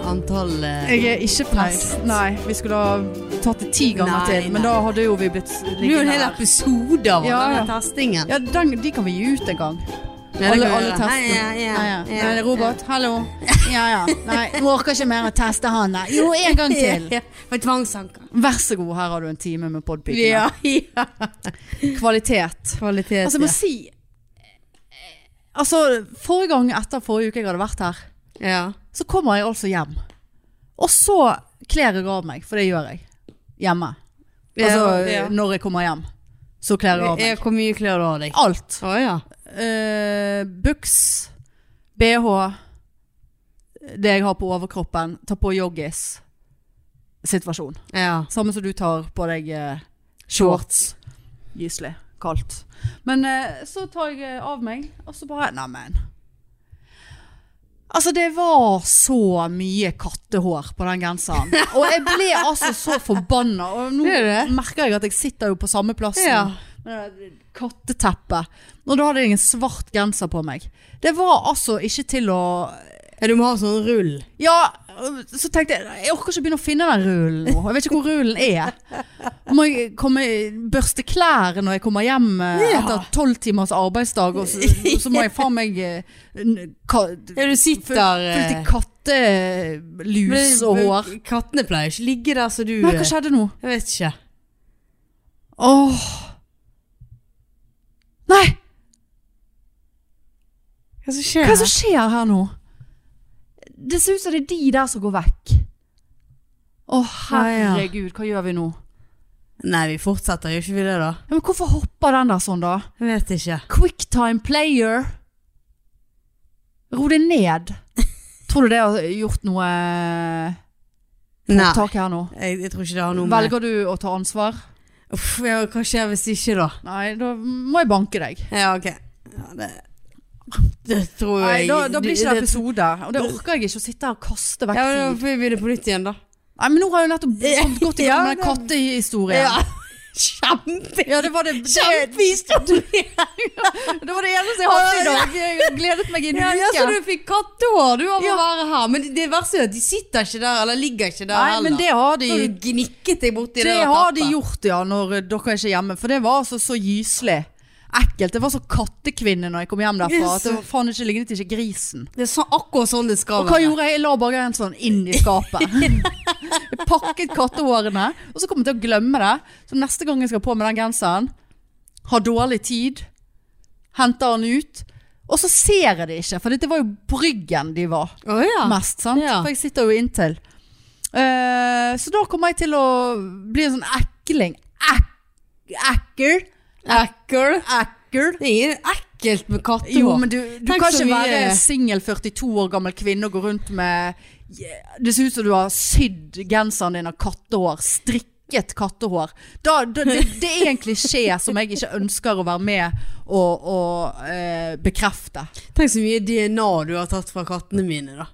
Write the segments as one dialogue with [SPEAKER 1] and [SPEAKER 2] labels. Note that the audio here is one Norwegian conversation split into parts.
[SPEAKER 1] halv eh,
[SPEAKER 2] Jeg er ikke fornøyd.
[SPEAKER 1] Fast.
[SPEAKER 2] Nei, vi skulle ha tatt det ti ganger
[SPEAKER 1] Nei,
[SPEAKER 2] til, men
[SPEAKER 1] nei.
[SPEAKER 2] da hadde jo vi blitt
[SPEAKER 1] Det blir jo en hel
[SPEAKER 2] liggende her.
[SPEAKER 1] episode av
[SPEAKER 2] Ja,
[SPEAKER 1] denne
[SPEAKER 2] ja.
[SPEAKER 1] tastingen.
[SPEAKER 2] Ja, den, de kan vi gi ut en gang.
[SPEAKER 1] Ja, det
[SPEAKER 2] alle-
[SPEAKER 1] kan vi
[SPEAKER 2] alle
[SPEAKER 1] gjøre.
[SPEAKER 2] testene.
[SPEAKER 1] Hei, ja, ja,
[SPEAKER 2] Ja, ja.
[SPEAKER 1] ja.
[SPEAKER 2] Nei, det er Robert. Hallo. Ja, ja. Nei, jeg orker ikke mer å teste han der. Jo, en gang til.
[SPEAKER 1] Ja, ja. Med tvangstanker.
[SPEAKER 2] Vær så god, her har du en time med podpikene.
[SPEAKER 1] Ja, ja.
[SPEAKER 2] Kvalitet.
[SPEAKER 1] Kvalitet,
[SPEAKER 2] Altså, jeg må si Altså, forrige gang etter forrige uke jeg hadde vært her,
[SPEAKER 1] ja. ja.
[SPEAKER 2] så kommer jeg altså hjem. Og så kler jeg av meg, for det gjør jeg. Hjemme. Altså,
[SPEAKER 1] ja.
[SPEAKER 2] når jeg kommer hjem, så kler jeg av meg.
[SPEAKER 1] Ja, Hvor mye klør du har deg?
[SPEAKER 2] Alt.
[SPEAKER 1] Å ja.
[SPEAKER 2] Eh, buks, BH, det jeg har på overkroppen, ta på joggis. Situasjon.
[SPEAKER 1] ja.
[SPEAKER 2] Samme som du tar på deg eh, shorts. Gyselig. Kaldt. Men eh, så tar jeg eh, av meg, og så bare Neimen. Altså, det var så mye kattehår på den genseren. Og jeg ble altså så forbanna. Og nå
[SPEAKER 1] Det er
[SPEAKER 2] merker jeg at jeg sitter jo på samme plassen
[SPEAKER 1] Ja.
[SPEAKER 2] med det katteteppet. Og da hadde jeg en svart genser på meg. Det var altså ikke til å
[SPEAKER 1] ja. Du må ha sånn rull.
[SPEAKER 2] ja, så tenkte jeg Jeg orker ikke begynne å finne den rullen nå. Jeg vet ikke hvor rullen er. Må jeg komme, børste klær når jeg kommer hjem eh,
[SPEAKER 1] Ja.
[SPEAKER 2] etter tolv timers arbeidsdag, og så, så må jeg faen meg eh, n- ka,
[SPEAKER 1] Ja, du sitter
[SPEAKER 2] Fullt i
[SPEAKER 1] eh,
[SPEAKER 2] kattelus
[SPEAKER 1] men-
[SPEAKER 2] og hår.
[SPEAKER 1] Kattene pleier ikke ligge der som du
[SPEAKER 2] Nei,
[SPEAKER 1] eh,
[SPEAKER 2] hva skjedde nå?
[SPEAKER 1] Jeg vet ikke.
[SPEAKER 2] Åh Nei,
[SPEAKER 1] Hva som skjer?
[SPEAKER 2] hva er det som skjer her nå? Det ser ut som det er de der som går vekk. Å,
[SPEAKER 1] Ja, ja.
[SPEAKER 2] herregud, hva gjør vi nå?
[SPEAKER 1] Nei, vi fortsetter. Gjør ikke vi det, da?
[SPEAKER 2] Ja, men hvorfor hopper den der sånn, da?
[SPEAKER 1] Jeg vet ikke.
[SPEAKER 2] Quicktime player Ro deg ned Tror du det har gjort noe eh,
[SPEAKER 1] Nei.
[SPEAKER 2] tak her nå?
[SPEAKER 1] Jeg, jeg tror ikke det har noe med
[SPEAKER 2] Velger du å ta ansvar?
[SPEAKER 1] Uff, ja, Hva skjer hvis ikke, da?
[SPEAKER 2] Nei, da må jeg banke deg
[SPEAKER 1] Ja, ok. Ja, det, det tror
[SPEAKER 2] Nei,
[SPEAKER 1] jeg
[SPEAKER 2] da, da blir ikke det
[SPEAKER 1] det-
[SPEAKER 2] episode Og det orker jeg ikke å sitte her og kaste vekk
[SPEAKER 1] Ja, men da
[SPEAKER 2] tid
[SPEAKER 1] får vi begynne på nytt igjen, da.
[SPEAKER 2] Nei, men nå har jeg jo nettopp kommet godt i gang med den
[SPEAKER 1] Ja,
[SPEAKER 2] kattehistorien ja.
[SPEAKER 1] Kjempe!
[SPEAKER 2] det var det, det,
[SPEAKER 1] Kjempehistorie!
[SPEAKER 2] det var det eneste jeg hadde i dag Jeg gledet meg i en
[SPEAKER 1] Ja, ja, så
[SPEAKER 2] uke
[SPEAKER 1] du fikk kattehår du av å
[SPEAKER 2] Ja.
[SPEAKER 1] være her. Men det verste er at de sitter ikke der, eller ligger ikke der
[SPEAKER 2] Nei, men det har de
[SPEAKER 1] Så har du gnikket deg borti
[SPEAKER 2] Det
[SPEAKER 1] der
[SPEAKER 2] har de
[SPEAKER 1] teppet.
[SPEAKER 2] gjort, ja, når eh, dere er ikke er hjemme. For det var altså så gyselig. Ekkelt. Det var så kattekvinne når jeg kom hjem derfra. At det var faen ikke lignet ikke grisen.
[SPEAKER 1] Det er så, akkurat sånn det skal
[SPEAKER 2] Og hva gjorde jeg? Jeg la bare en sånn inn i skapet. Jeg pakket kattehårene, og så kom jeg til å glemme det. Så neste gang jeg skal på med den genseren, har dårlig tid, henter den ut, og så ser jeg det ikke. For dette var jo Bryggen de var
[SPEAKER 1] Å ja.
[SPEAKER 2] mest, sant?
[SPEAKER 1] Ja.
[SPEAKER 2] For jeg sitter jo inntil. Eh, så da kommer jeg til å bli en sånn ekling. Ek- Ekkel.
[SPEAKER 1] Ekkel.
[SPEAKER 2] Ekkel.
[SPEAKER 1] Det er ingen ekkelt med kattehår.
[SPEAKER 2] Jo, men du, du
[SPEAKER 1] Tenk
[SPEAKER 2] kan
[SPEAKER 1] så
[SPEAKER 2] ikke
[SPEAKER 1] mye-
[SPEAKER 2] være singel 42 år gammel kvinne og gå rundt med Det ser ut som du har sydd genseren din av kattehår. Strikket kattehår. Da, da, det, det er en klisjé som jeg ikke ønsker å være med og, og eh, bekrefte.
[SPEAKER 1] Tenk så mye DNA du har tatt fra kattene mine, da.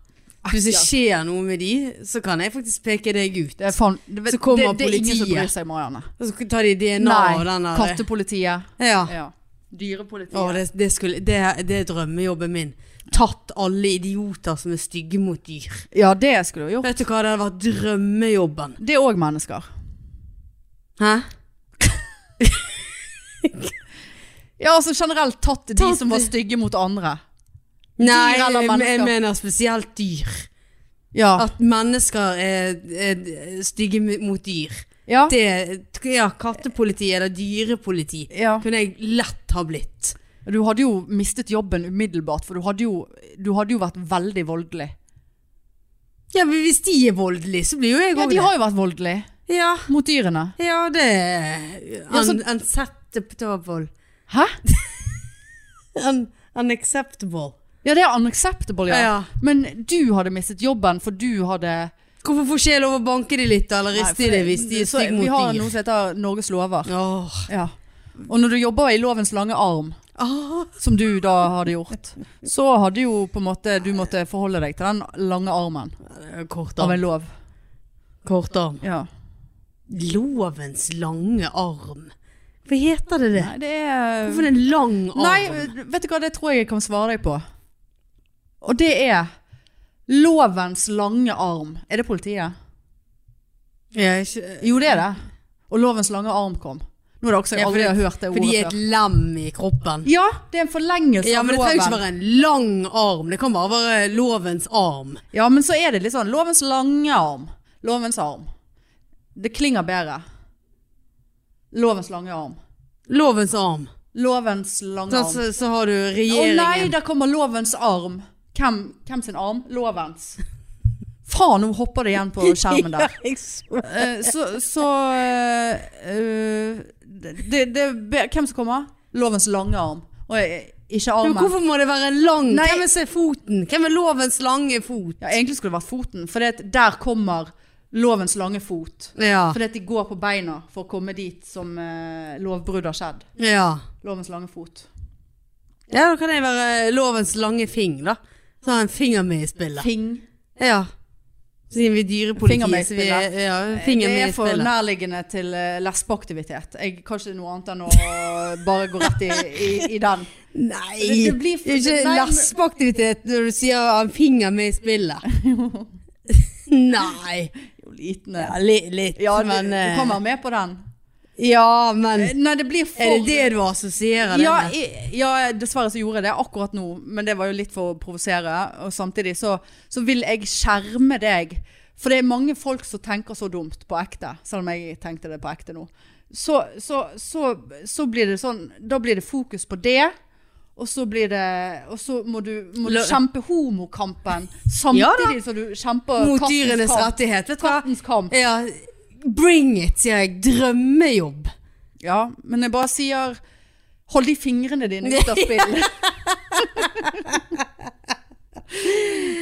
[SPEAKER 1] Hvis det skjer noe med de, så kan jeg faktisk peke deg ut.
[SPEAKER 2] Det er, faen, det,
[SPEAKER 1] Så kommer
[SPEAKER 2] det, det er ingen som
[SPEAKER 1] politiet.
[SPEAKER 2] bryr seg, Marianne.
[SPEAKER 1] Og så tar de DNA og den
[SPEAKER 2] Nei,
[SPEAKER 1] der
[SPEAKER 2] kattepolitiet.
[SPEAKER 1] Ja.
[SPEAKER 2] Ja. Dyrepolitiet.
[SPEAKER 1] Å, det, det, skulle, det, det er drømmejobben min. Tatt alle idioter som er stygge mot dyr.
[SPEAKER 2] Ja, det skulle du gjort.
[SPEAKER 1] Vet du hva, det hadde vært drømmejobben.
[SPEAKER 2] Det er òg mennesker.
[SPEAKER 1] Hæ?
[SPEAKER 2] Ja, altså generelt tatt de
[SPEAKER 1] Tatt
[SPEAKER 2] som var
[SPEAKER 1] de-
[SPEAKER 2] stygge mot andre.
[SPEAKER 1] Nei,
[SPEAKER 2] Dyr
[SPEAKER 1] jeg,
[SPEAKER 2] eller
[SPEAKER 1] jeg
[SPEAKER 2] mennesker?
[SPEAKER 1] mener spesielt dyr.
[SPEAKER 2] Ja.
[SPEAKER 1] At mennesker er, er stygge mot dyr.
[SPEAKER 2] Ja.
[SPEAKER 1] Det, ja, kattepoliti eller dyrepoliti
[SPEAKER 2] ja.
[SPEAKER 1] kunne jeg lett ha blitt.
[SPEAKER 2] Du hadde jo mistet jobben umiddelbart, for du hadde jo, du hadde jo vært veldig voldelig.
[SPEAKER 1] Ja, men hvis de er voldelige, så blir jo jeg
[SPEAKER 2] Ja,
[SPEAKER 1] òg
[SPEAKER 2] de
[SPEAKER 1] det.
[SPEAKER 2] har jo vært voldelige
[SPEAKER 1] Ja,
[SPEAKER 2] mot dyrene.
[SPEAKER 1] ja, det
[SPEAKER 2] Ja, så-
[SPEAKER 1] un, Unacceptable.
[SPEAKER 2] Hæ?
[SPEAKER 1] Un, unacceptable.
[SPEAKER 2] Ja, det er unacceptable, ja.
[SPEAKER 1] Ja.
[SPEAKER 2] Men du hadde mistet jobben, for du hadde
[SPEAKER 1] Hvorfor får ikke jeg lov å banke de litt eller
[SPEAKER 2] Nei, for
[SPEAKER 1] riste i det hvis de er
[SPEAKER 2] så
[SPEAKER 1] stygge
[SPEAKER 2] Vi har
[SPEAKER 1] mot
[SPEAKER 2] noe
[SPEAKER 1] dyr?
[SPEAKER 2] som heter Norges lover.
[SPEAKER 1] Åh.
[SPEAKER 2] Ja. Og når du jobber i lovens lange arm,
[SPEAKER 1] Åh.
[SPEAKER 2] som du da hadde gjort, så hadde jo på en måte du måtte forholde deg til den lange armen
[SPEAKER 1] Kort
[SPEAKER 2] av
[SPEAKER 1] arm.
[SPEAKER 2] en lov.
[SPEAKER 1] Kort arm.
[SPEAKER 2] Ja.
[SPEAKER 1] Lovens lange arm. Hva heter det det?
[SPEAKER 2] Nei, det er
[SPEAKER 1] Hvorfor er det en lang arm?
[SPEAKER 2] Nei, vet du hva, det tror jeg jeg kan svare deg på. Og det er Lovens lange arm. Er det politiet?
[SPEAKER 1] Ja, ikke,
[SPEAKER 2] Jo, det er det. Og lovens lange arm kom. Nå er det også jeg
[SPEAKER 1] Ja,
[SPEAKER 2] aldri
[SPEAKER 1] fordi-
[SPEAKER 2] har hørt det
[SPEAKER 1] for de
[SPEAKER 2] ordet
[SPEAKER 1] er et
[SPEAKER 2] før.
[SPEAKER 1] lem i kroppen.
[SPEAKER 2] Ja, det er en forlengelse
[SPEAKER 1] Ja,
[SPEAKER 2] av
[SPEAKER 1] men det
[SPEAKER 2] loven.
[SPEAKER 1] trenger ikke være en lang arm. Det kan bare være lovens arm.
[SPEAKER 2] Ja, men så er det litt sånn lovens lange arm. Lovens arm. Det klinger bedre. Lovens lange arm.
[SPEAKER 1] Lovens arm.
[SPEAKER 2] Lovens lange
[SPEAKER 1] Så, altså,
[SPEAKER 2] arm.
[SPEAKER 1] så, så har du
[SPEAKER 2] Å
[SPEAKER 1] regjeringen.
[SPEAKER 2] nei, der kommer lovens arm. Hvem, hvem sin arm? Lovens. Faen, nå hopper det igjen på skjermen der.
[SPEAKER 1] Ja, jeg så-
[SPEAKER 2] Eh, så så eh, eh, det, det, be- Hvem som kommer? Lovens lange arm. Og eh, ikke
[SPEAKER 1] Men
[SPEAKER 2] armen.
[SPEAKER 1] hvorfor må det være lang?
[SPEAKER 2] Nei.
[SPEAKER 1] Hvem vil se foten? Hvem er lovens lange fot?
[SPEAKER 2] Ja, egentlig skulle det vært foten, for det, at der kommer lovens lange fot.
[SPEAKER 1] Ja.
[SPEAKER 2] Fordi at de går på beina for å komme dit som eh, lovbrudd har skjedd.
[SPEAKER 1] Ja,
[SPEAKER 2] Lovens lange fot.
[SPEAKER 1] ja da kan jeg være lovens lange fing, da. Så har jeg en finger med i spillet.
[SPEAKER 2] Fing.
[SPEAKER 1] Ja. Siden vi er
[SPEAKER 2] Finger med
[SPEAKER 1] dyrepoliti, så
[SPEAKER 2] i
[SPEAKER 1] vi er
[SPEAKER 2] spillet.
[SPEAKER 1] ja,
[SPEAKER 2] Det
[SPEAKER 1] finger med
[SPEAKER 2] er
[SPEAKER 1] i
[SPEAKER 2] for
[SPEAKER 1] spillet.
[SPEAKER 2] nærliggende til eh, lesbeaktivitet. Jeg kan ikke noe annet enn å bare gå rett i, i, i den.
[SPEAKER 1] Nei!
[SPEAKER 2] Det- det blir for-
[SPEAKER 1] Det er jo ikke
[SPEAKER 2] Nei, men-
[SPEAKER 1] lesbeaktivitet når du sier å ha en finger med i spillet. Nei.
[SPEAKER 2] Jo, liten
[SPEAKER 1] Ja,
[SPEAKER 2] eh.
[SPEAKER 1] li, litt,
[SPEAKER 2] Ja, du,
[SPEAKER 1] men
[SPEAKER 2] du
[SPEAKER 1] eh,
[SPEAKER 2] kan være med på den.
[SPEAKER 1] Ja, men
[SPEAKER 2] Eh, Nei, det blir for
[SPEAKER 1] Er det det du assosierer
[SPEAKER 2] ja,
[SPEAKER 1] det med?
[SPEAKER 2] i- ja, dessverre så gjorde jeg det akkurat nå, men det var jo litt for å provosere. Og samtidig så, så vil jeg skjerme deg. For det er mange folk som tenker så dumt på ekte, selv om jeg tenkte det på ekte nå. Så, så, så, så blir det sånn Da blir det fokus på det. Og så blir det Og så må du, må du
[SPEAKER 1] Lø-
[SPEAKER 2] kjempe homokampen
[SPEAKER 1] Ja
[SPEAKER 2] samtidig som du kjemper
[SPEAKER 1] Mot
[SPEAKER 2] kattens
[SPEAKER 1] dyrenes
[SPEAKER 2] kamp.
[SPEAKER 1] rettighet, vet du hva?
[SPEAKER 2] Kattens kamp.
[SPEAKER 1] Ja, bring it, sier jeg. Drømmejobb.
[SPEAKER 2] Ja, men jeg bare sier Hold de fingrene dine ut av spill.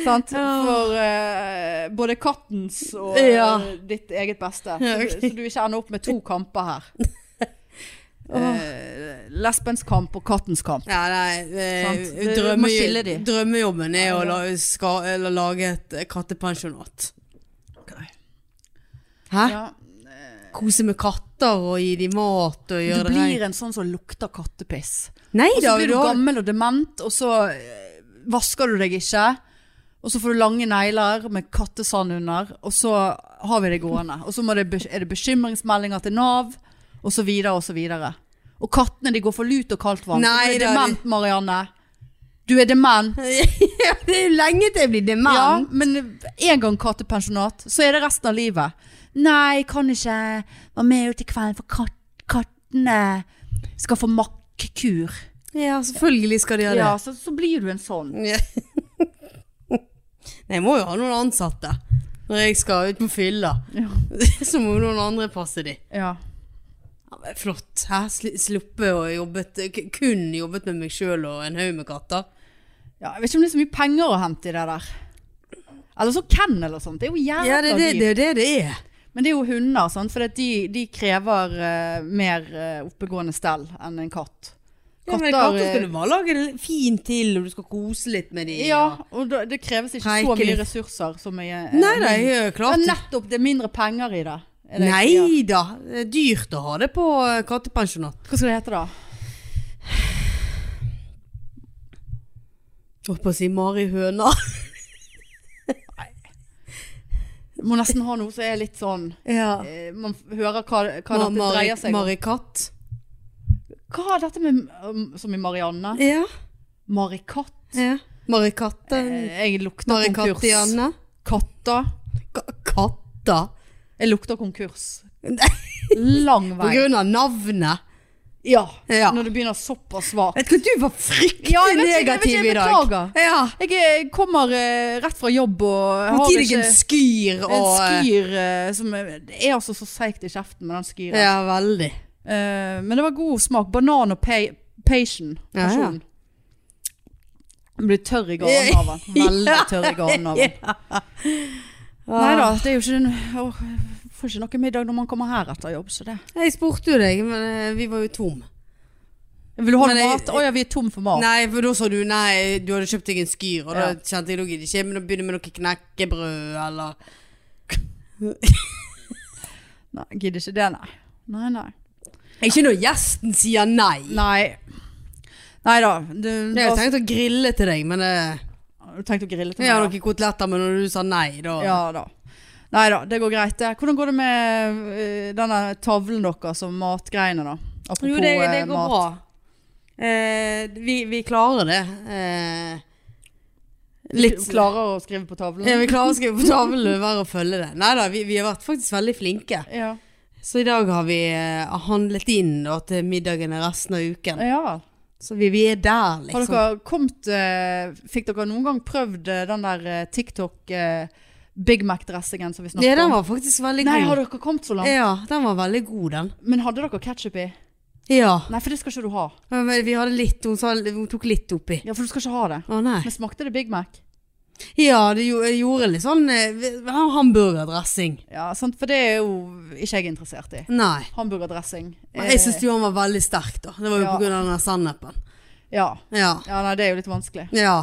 [SPEAKER 2] Sant? For eh, både kattens og eh,
[SPEAKER 1] Ja.
[SPEAKER 2] ditt eget beste. Så,
[SPEAKER 1] Ja, ok.
[SPEAKER 2] så du ikke ender opp med to kamper her. Eh, lesbens kamp og kattens kamp.
[SPEAKER 1] Ja, nei, eh,
[SPEAKER 2] Sant. Du
[SPEAKER 1] drømme-
[SPEAKER 2] må skille de.
[SPEAKER 1] Drømmejobben er
[SPEAKER 2] Ja,
[SPEAKER 1] å
[SPEAKER 2] ja.
[SPEAKER 1] la, ska, eller lage et eh, kattepensjonat. Hæ?
[SPEAKER 2] Ja,
[SPEAKER 1] Kose med katter og gi dem mat og
[SPEAKER 2] du
[SPEAKER 1] gjøre det
[SPEAKER 2] blir en sånn som lukter kattepiss.
[SPEAKER 1] Nei
[SPEAKER 2] Og så
[SPEAKER 1] da,
[SPEAKER 2] blir du
[SPEAKER 1] da-
[SPEAKER 2] gammel og dement, og så eh, vasker du deg ikke. Og så får du lange negler med kattesand under, og så har vi det gående. Og så må det, be- er det bekymringsmeldinger til Nav, og så videre og så videre. Og kattene de går for lut og kaldt vann.
[SPEAKER 1] Nei,
[SPEAKER 2] du er
[SPEAKER 1] da,
[SPEAKER 2] dement, Marianne. Du er dement.
[SPEAKER 1] ja, det er jo lenge til jeg blir
[SPEAKER 2] Ja,
[SPEAKER 1] dement.
[SPEAKER 2] men en gang kattepensjonat, så er det resten av livet. Nei, kan ikke være med ut i kvelden, for kat kattene skal få makkekur.
[SPEAKER 1] Ja. selvfølgelig skal de
[SPEAKER 2] Ja,
[SPEAKER 1] gjøre det.
[SPEAKER 2] så, så blir du en sånn.
[SPEAKER 1] Ja. Nei, jeg må jo ha noen ansatte når jeg skal ut på fylla.
[SPEAKER 2] Ja.
[SPEAKER 1] Så må jo noen andre passe de.
[SPEAKER 2] Ja.
[SPEAKER 1] Ja, men flott. Her sluppe å jobbet, k- kun jobbet med meg sjøl og en haug med katter.
[SPEAKER 2] Ja, jeg vet ikke om det er så mye penger å hente i det der. Eller så Ken eller sånt. Det er jo jævla
[SPEAKER 1] Ja, det er det det
[SPEAKER 2] dyrt.
[SPEAKER 1] er. Det det er.
[SPEAKER 2] Men det er jo hunder, sant? for de, de krever eh, mer eh, oppegående stell enn en katt.
[SPEAKER 1] Ja, men
[SPEAKER 2] Katter,
[SPEAKER 1] katter
[SPEAKER 2] eh,
[SPEAKER 1] skal du bare lage det fint til, og du skal kose litt med dem.
[SPEAKER 2] Ja, og da, det kreves ikke
[SPEAKER 1] Preike
[SPEAKER 2] så mye
[SPEAKER 1] litt.
[SPEAKER 2] ressurser som jeg eh,
[SPEAKER 1] Nei da, jeg er jo
[SPEAKER 2] Men
[SPEAKER 1] klart det.
[SPEAKER 2] nettopp, det er mindre penger i det. Er det ja.
[SPEAKER 1] Nei da. Det er dyrt å ha det på eh, kattepensjonat.
[SPEAKER 2] Hva skal det hete da?
[SPEAKER 1] Holdt på å si Mari Høna.
[SPEAKER 2] Du må nesten ha noe som er litt sånn
[SPEAKER 1] Ja.
[SPEAKER 2] eh, Man f- hører hva, hva
[SPEAKER 1] Ma-
[SPEAKER 2] dette
[SPEAKER 1] Mari,
[SPEAKER 2] dreier seg om.
[SPEAKER 1] Mari Katt.
[SPEAKER 2] Hva er dette med um, Som i Marianne?
[SPEAKER 1] Ja.
[SPEAKER 2] Marikatt?
[SPEAKER 1] Ja. Mari Katte.
[SPEAKER 2] Eh, Jeg lukter
[SPEAKER 1] Mari
[SPEAKER 2] konkurs.
[SPEAKER 1] Kattianne.
[SPEAKER 2] Katter.
[SPEAKER 1] Ka- Katta?
[SPEAKER 2] Jeg lukter konkurs.
[SPEAKER 1] Nei.
[SPEAKER 2] Lang
[SPEAKER 1] På
[SPEAKER 2] vei.
[SPEAKER 1] grunn av navnet?
[SPEAKER 2] Ja,
[SPEAKER 1] Ja.
[SPEAKER 2] Når du begynner såpass svakt.
[SPEAKER 1] Vet du hva, du var fryktelig
[SPEAKER 2] Ja, jeg vet ikke, jeg vet ikke,
[SPEAKER 1] negativ
[SPEAKER 2] jeg
[SPEAKER 1] i dag.
[SPEAKER 2] beklager.
[SPEAKER 1] Ja.
[SPEAKER 2] Jeg eh, kommer eh, rett fra jobb og jeg har
[SPEAKER 1] Når
[SPEAKER 2] ikke
[SPEAKER 1] ikke en skyr og
[SPEAKER 2] en skyr eh, som er, Det er altså så seigt i kjeften med den skyren.
[SPEAKER 1] Ja, veldig.
[SPEAKER 2] Eh, men det var god smak. Banan og pe passion.
[SPEAKER 1] Ja, ja.
[SPEAKER 2] Passion. Jeg Blir tørr i garnhaven. Veldig tørr i garnhaven. Nei da, det er jo ikke en, åh, Får ikke noe middag når man kommer her etter jobb, så det
[SPEAKER 1] Jeg spurte jo deg, men eh, vi var jo tom.
[SPEAKER 2] Vil du ha
[SPEAKER 1] Men
[SPEAKER 2] noe
[SPEAKER 1] jeg-
[SPEAKER 2] mat? Å ja, vi er tom for mat.
[SPEAKER 1] Nei, for da sa du nei, du hadde kjøpt deg en skyr, og da
[SPEAKER 2] Ja.
[SPEAKER 1] kjente jeg da gidder ikke jeg men å begynne med noe knekkebrød eller
[SPEAKER 2] Nei, gidder ikke det, nei. Nei, nei.
[SPEAKER 1] Ikke når gjesten sier nei.
[SPEAKER 2] Nei, nei da. Du,
[SPEAKER 1] Jeg har
[SPEAKER 2] da
[SPEAKER 1] tenkt å grille til deg, men det
[SPEAKER 2] Du tenkte å grille til
[SPEAKER 1] Jeg har
[SPEAKER 2] meg?
[SPEAKER 1] noen koteletter, men når du sa nei, da
[SPEAKER 2] da? Ja da. Nei da, det går greit, det. Hvordan går det med eh, denne tavlen deres og matgreiene, da? Apropos
[SPEAKER 1] Jo, det, det
[SPEAKER 2] eh,
[SPEAKER 1] går
[SPEAKER 2] mat.
[SPEAKER 1] bra. Eh, vi, vi klarer det. Eh, litt
[SPEAKER 2] Du klarer å skrive på tavlen?
[SPEAKER 1] Ja, vi klarer å skrive på tavlen og være og følge det. Nei da, vi, vi har vært faktisk veldig flinke.
[SPEAKER 2] Ja.
[SPEAKER 1] Så i dag har vi eh, handlet inn da, til middagen er resten av uken.
[SPEAKER 2] ja vel.
[SPEAKER 1] Så vi, vi er der,
[SPEAKER 2] Har
[SPEAKER 1] liksom.
[SPEAKER 2] dere kommet eh, Fikk dere noen gang prøvd eh, den der eh, TikTok eh, Big Mac-dressingen som vi
[SPEAKER 1] Ja,
[SPEAKER 2] snakket
[SPEAKER 1] den
[SPEAKER 2] om?
[SPEAKER 1] var faktisk veldig
[SPEAKER 2] Nei,
[SPEAKER 1] god. Eh.
[SPEAKER 2] har dere kommet så langt?
[SPEAKER 1] Ja, den var veldig god, den.
[SPEAKER 2] Men hadde dere ketsjup i?
[SPEAKER 1] Ja.
[SPEAKER 2] Nei, for det skal ikke du ha.
[SPEAKER 1] Men vi hadde litt, hun, sa, hun tok litt oppi.
[SPEAKER 2] Ja, for du skal ikke ha det.
[SPEAKER 1] Å nei.
[SPEAKER 2] Men smakte det Big Mac?
[SPEAKER 1] Ja, det gjo- jeg gjorde litt sånn eh, hamburgerdressing.
[SPEAKER 2] Ja, sant? for det er jo ikke jeg interessert i.
[SPEAKER 1] Nei.
[SPEAKER 2] Hamburgerdressing.
[SPEAKER 1] Men jeg syns jo han var veldig sterk, da. Det var jo
[SPEAKER 2] Ja.
[SPEAKER 1] på grunn av den der sennepen.
[SPEAKER 2] Eh, Ja.
[SPEAKER 1] Ja.
[SPEAKER 2] ja, nei, det er jo litt vanskelig.
[SPEAKER 1] ja.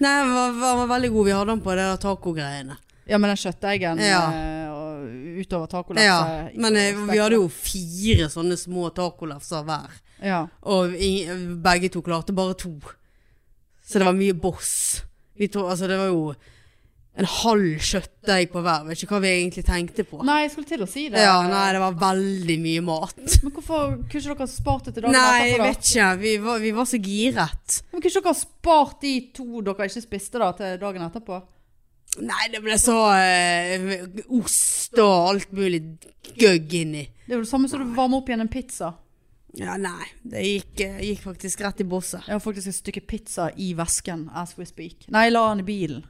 [SPEAKER 1] Nei, han var, han var veldig god. Vi hadde han på det der tacogreiene.
[SPEAKER 2] Ja, med den kjøttdeigen
[SPEAKER 1] Ja.
[SPEAKER 2] eh, og utover altså, tacolefse.
[SPEAKER 1] Ja. Men eh, vi hadde jo fire sånne små tacolefser hver.
[SPEAKER 2] Ja.
[SPEAKER 1] Og i, begge to klarte bare to. Så det var mye boss. Vi to, altså, det var jo en halv kjøttdeig på hver. Vet ikke hva vi egentlig tenkte på.
[SPEAKER 2] Nei, jeg skulle til å si det.
[SPEAKER 1] Ja, nei, det var veldig mye mat.
[SPEAKER 2] Men hvorfor kunne ikke dere spart det til dagen
[SPEAKER 1] Nei, jeg
[SPEAKER 2] etterpå? da?
[SPEAKER 1] vet ikke. Vi var, vi var så giret.
[SPEAKER 2] Men kunne ikke dere spart de to dere ikke spiste da, til dagen etterpå?
[SPEAKER 1] Nei, det ble så eh, ost og alt mulig gøgg inni.
[SPEAKER 2] Det er jo det samme som du varmer opp igjen en pizza.
[SPEAKER 1] Ja, nei. Det gikk, eh, gikk faktisk rett i bosset.
[SPEAKER 2] Jeg har faktisk et stykke pizza i vesken as we speak. Nei, jeg la den i bilen.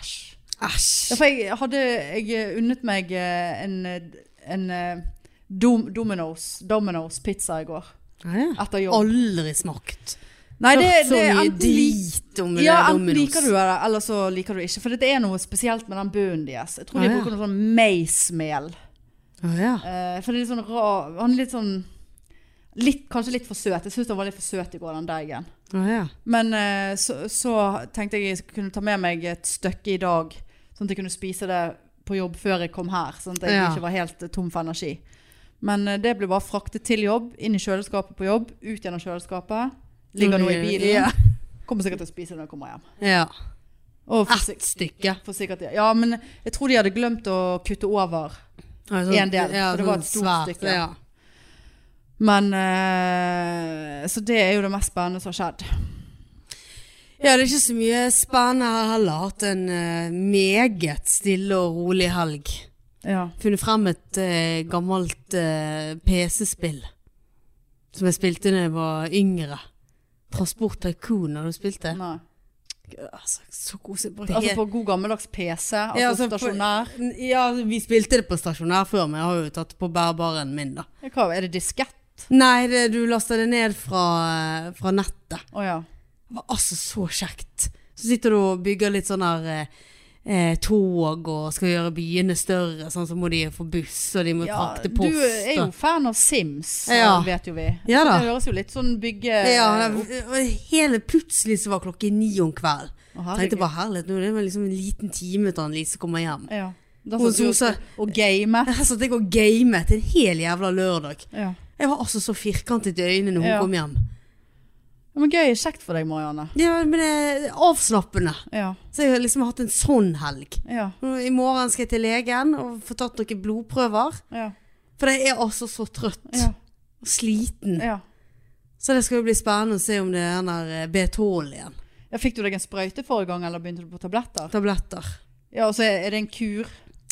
[SPEAKER 2] Æsj. Ja,
[SPEAKER 1] Æsj.
[SPEAKER 2] for jeg hadde jeg unnet meg eh, en, en eh, dom, Domino's, Domino's pizza i går.
[SPEAKER 1] Ja, ja.
[SPEAKER 2] Etter jobb.
[SPEAKER 1] Aldri smakt.
[SPEAKER 2] Nei, det,
[SPEAKER 1] Hørt så
[SPEAKER 2] det er
[SPEAKER 1] mye
[SPEAKER 2] enten lik-
[SPEAKER 1] drit om eh, det
[SPEAKER 2] ja,
[SPEAKER 1] der
[SPEAKER 2] enten
[SPEAKER 1] Domino's.
[SPEAKER 2] liker du det, eller så liker du ikke. For det er noe spesielt med den bunnen deres. Jeg tror
[SPEAKER 1] Ah,
[SPEAKER 2] de
[SPEAKER 1] ja.
[SPEAKER 2] bruker noe sånn meismel.
[SPEAKER 1] Å, ja.
[SPEAKER 2] Eh, for det er litt sånn rar Han er litt sånn litt, Kanskje litt for søt. Jeg syns den var litt for søt i går, den deigen.
[SPEAKER 1] Å, ja.
[SPEAKER 2] Men eh, så, så tenkte jeg jeg kunne ta med meg et stykke i dag, sånn at jeg kunne spise det på jobb før jeg kom her. Sånn at jeg
[SPEAKER 1] Ja.
[SPEAKER 2] ikke var helt eh, tom for energi. Men eh, det ble bare fraktet til jobb, inn i kjøleskapet på jobb, ut gjennom kjøleskapet. Ligger nå i bilen.
[SPEAKER 1] Ja.
[SPEAKER 2] Kommer sikkert til å spise det når jeg kommer hjem.
[SPEAKER 1] ja.
[SPEAKER 2] Og for, sik-
[SPEAKER 1] Ett stykke.
[SPEAKER 2] for sikkert, ja, men jeg tror de hadde glemt å kutte over.
[SPEAKER 1] Ja,
[SPEAKER 2] En del, for det var
[SPEAKER 1] sånn
[SPEAKER 2] et stort
[SPEAKER 1] svært,
[SPEAKER 2] stykke.
[SPEAKER 1] Ja.
[SPEAKER 2] Men eh, Så det er jo det mest spennende som har skjedd.
[SPEAKER 1] ja, det er ikke så mye spennende her heller. Hatt en eh, meget stille og rolig helg.
[SPEAKER 2] Ja.
[SPEAKER 1] Funnet frem et eh, gammelt eh, PC-spill. Som jeg spilte da jeg var yngre. Transport Tycoon, har du spilt det?
[SPEAKER 2] Nei.
[SPEAKER 1] Altså, så koselig. Jeg brukte
[SPEAKER 2] Altså
[SPEAKER 1] helt-
[SPEAKER 2] på god gammeldags PC, altså,
[SPEAKER 1] Ja, altså på-
[SPEAKER 2] stasjonær.
[SPEAKER 1] Ja, vi spilte det på stasjonær før, men jeg har jo tatt det på bærbaren min, da.
[SPEAKER 2] Hva, er det diskett?
[SPEAKER 1] Nei, det, du lasta det ned fra, fra nettet.
[SPEAKER 2] Å ja.
[SPEAKER 1] Det var altså så kjekt. Så sitter du og bygger litt sånn her eh, eh, tog og skal gjøre byene større, sånn så må de få buss og de må
[SPEAKER 2] ja.
[SPEAKER 1] frakte
[SPEAKER 2] Du
[SPEAKER 1] post.
[SPEAKER 2] er jo
[SPEAKER 1] og-
[SPEAKER 2] fan av Sims,
[SPEAKER 1] Ja.
[SPEAKER 2] vet jo vi.
[SPEAKER 1] Ja
[SPEAKER 2] Så
[SPEAKER 1] da.
[SPEAKER 2] Det høres jo litt sånn bygge...
[SPEAKER 1] ja, det- og hele plutselig så var klokken ni om kvelden.
[SPEAKER 2] Å, herregud.
[SPEAKER 1] Tenkte bare herlighet, nå er det vel liksom en liten time til Lise kommer hjem.
[SPEAKER 2] Ja. Da
[SPEAKER 1] Og
[SPEAKER 2] satt du
[SPEAKER 1] så-
[SPEAKER 2] og skulle- og game.
[SPEAKER 1] Her satt jeg og gamet en hel jævla lørdag.
[SPEAKER 2] Ja.
[SPEAKER 1] Jeg var altså så firkantet i øynene når hun
[SPEAKER 2] Ja.
[SPEAKER 1] kom hjem.
[SPEAKER 2] Men gøy er kjekt for deg, Marianne.
[SPEAKER 1] Ja, men det er avslappende.
[SPEAKER 2] Ja.
[SPEAKER 1] Så jeg har liksom hatt en sånn helg.
[SPEAKER 2] Ja.
[SPEAKER 1] I morgen skal jeg til legen og få tatt noen blodprøver.
[SPEAKER 2] Ja.
[SPEAKER 1] For jeg er altså så trøtt
[SPEAKER 2] Ja.
[SPEAKER 1] og sliten.
[SPEAKER 2] ja.
[SPEAKER 1] Så det skal jo bli spennende å se om det er den der eh, B12 igjen.
[SPEAKER 2] ja. Fikk du deg en sprøyte forrige gang, eller begynte du på tabletter?
[SPEAKER 1] Tabletter.
[SPEAKER 2] Ja, og så er er det en kur,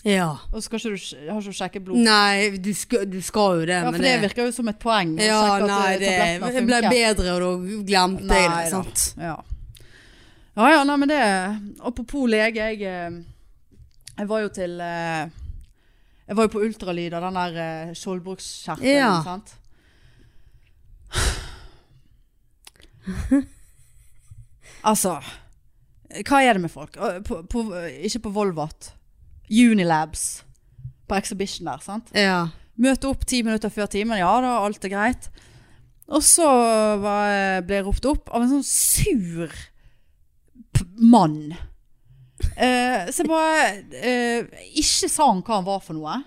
[SPEAKER 1] Ja.
[SPEAKER 2] og så skal ikke du, sj- har ikke du sjekket blod
[SPEAKER 1] Nei, du skal, du skal jo det,
[SPEAKER 2] Ja, for
[SPEAKER 1] men
[SPEAKER 2] det virker jo som et poeng. å
[SPEAKER 1] Ja,
[SPEAKER 2] sjekke at,
[SPEAKER 1] nei,
[SPEAKER 2] eh,
[SPEAKER 1] det
[SPEAKER 2] tablettene
[SPEAKER 1] jeg ble
[SPEAKER 2] funker.
[SPEAKER 1] bedre, og da glemte jeg det.
[SPEAKER 2] Nei da.
[SPEAKER 1] Sant?
[SPEAKER 2] Ja. ja, ja, nei, men det Apropos lege, jeg, eh, jeg var jo til eh, Jeg var jo på ultralyd av den der eh, skjoldbruskkjertelen,
[SPEAKER 1] Ja.
[SPEAKER 2] sant? altså Hva er det med folk? Eh, På, på, ikke på Volvat. Unilabs. På Exhibition der, sant?
[SPEAKER 1] Ja.
[SPEAKER 2] Møte opp ti minutter før timen, ja da, alt er greit. Og så var, ble jeg ropt opp av en sånn sur p mann. Eh, så jeg bare eh, Ikke sa han hva han var for noe.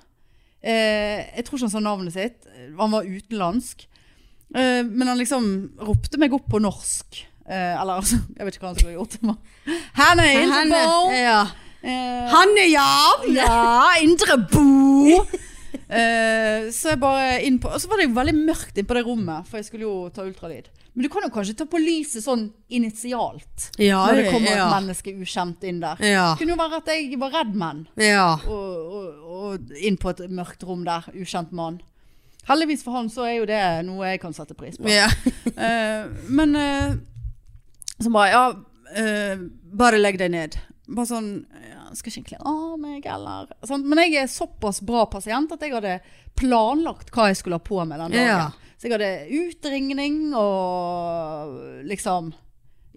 [SPEAKER 2] Eh, jeg tror ikke han sa navnet sitt. Han var utenlandsk. Eh, men han liksom ropte meg opp på norsk. Eh, eller altså, jeg vet ikke hva han skulle ha gjort. Henne er
[SPEAKER 1] Henne,
[SPEAKER 2] innenfor!
[SPEAKER 1] ja.
[SPEAKER 2] Eh,
[SPEAKER 1] Hanne Jav!
[SPEAKER 2] Ja, indre bo! Eh, så jeg bare inn på Og så var det jo veldig mørkt inne på det rommet, for jeg skulle jo ta ultralyd. Men du kan jo kanskje ta på lyset sånn initialt,
[SPEAKER 1] Ja,
[SPEAKER 2] når det kommer
[SPEAKER 1] ja.
[SPEAKER 2] et menneske ukjent inn der.
[SPEAKER 1] Ja.
[SPEAKER 2] Det kunne jo være at jeg var redd menn,
[SPEAKER 1] ja.
[SPEAKER 2] og, og, og inn på et mørkt rom der, ukjent mann. Heldigvis for han så er jo det noe jeg kan sette pris på.
[SPEAKER 1] ja.
[SPEAKER 2] Eh, men eh, så bare, ja, eh, bare legg deg ned. Bare sånn, ja, skal ikke egentlig av meg, eller sånn. Men jeg er såpass bra pasient at jeg hadde planlagt hva jeg skulle ha på meg den dagen.
[SPEAKER 1] Ja.
[SPEAKER 2] Så jeg hadde utringning og liksom,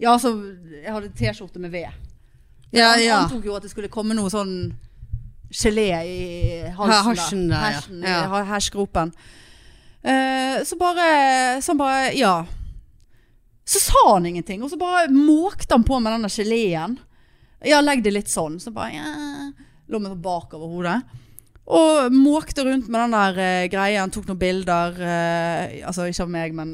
[SPEAKER 2] ja, så jeg hadde t-skjorte med ved.
[SPEAKER 1] ja,
[SPEAKER 2] Han
[SPEAKER 1] ja.
[SPEAKER 2] antok jo at det skulle komme noe sånn gelé i halsen.
[SPEAKER 1] Ja, hasjen der, ja.
[SPEAKER 2] Hasjen,
[SPEAKER 1] Ja.
[SPEAKER 2] ha- Hersgropen. Eh, så bare Sånn bare Ja. Så sa han ingenting, og så bare måkte han på med denne geleen. Ja, legg det litt sånn. Så bare ja. Lå meg bak over hodet. Og måkte rundt med den der eh, greien, tok noen bilder. eh, altså ikke av meg, men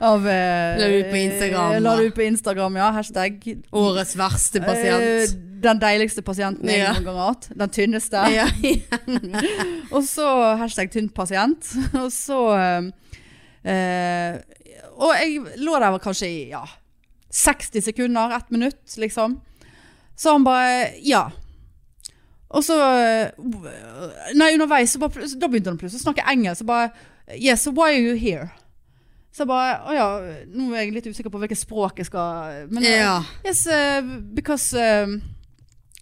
[SPEAKER 2] av eh,
[SPEAKER 1] La det ut på Instagram,
[SPEAKER 2] La
[SPEAKER 1] da.
[SPEAKER 2] det ut på Instagram, ja. Hashtag
[SPEAKER 1] Årets verste pasient.
[SPEAKER 2] Eh, Den deiligste pasienten jeg
[SPEAKER 1] Ja.
[SPEAKER 2] noen gang har hatt. Den tynneste.
[SPEAKER 1] Ja,
[SPEAKER 2] Og så hashtag tynn pasient. Og så eh, eh, Og jeg lå der vel kanskje i ja, 60 sekunder, ett minutt, liksom. Så han bare Ja. Og så eh, Nei, underveis så bare, pl- så da begynte han plutselig å snakke engelsk. Så bare Yes, so why are you here? Så jeg bare Å ja, nå er jeg litt usikker på hvilket språk jeg skal Men eh,
[SPEAKER 1] ja.
[SPEAKER 2] Yes, uh, because um,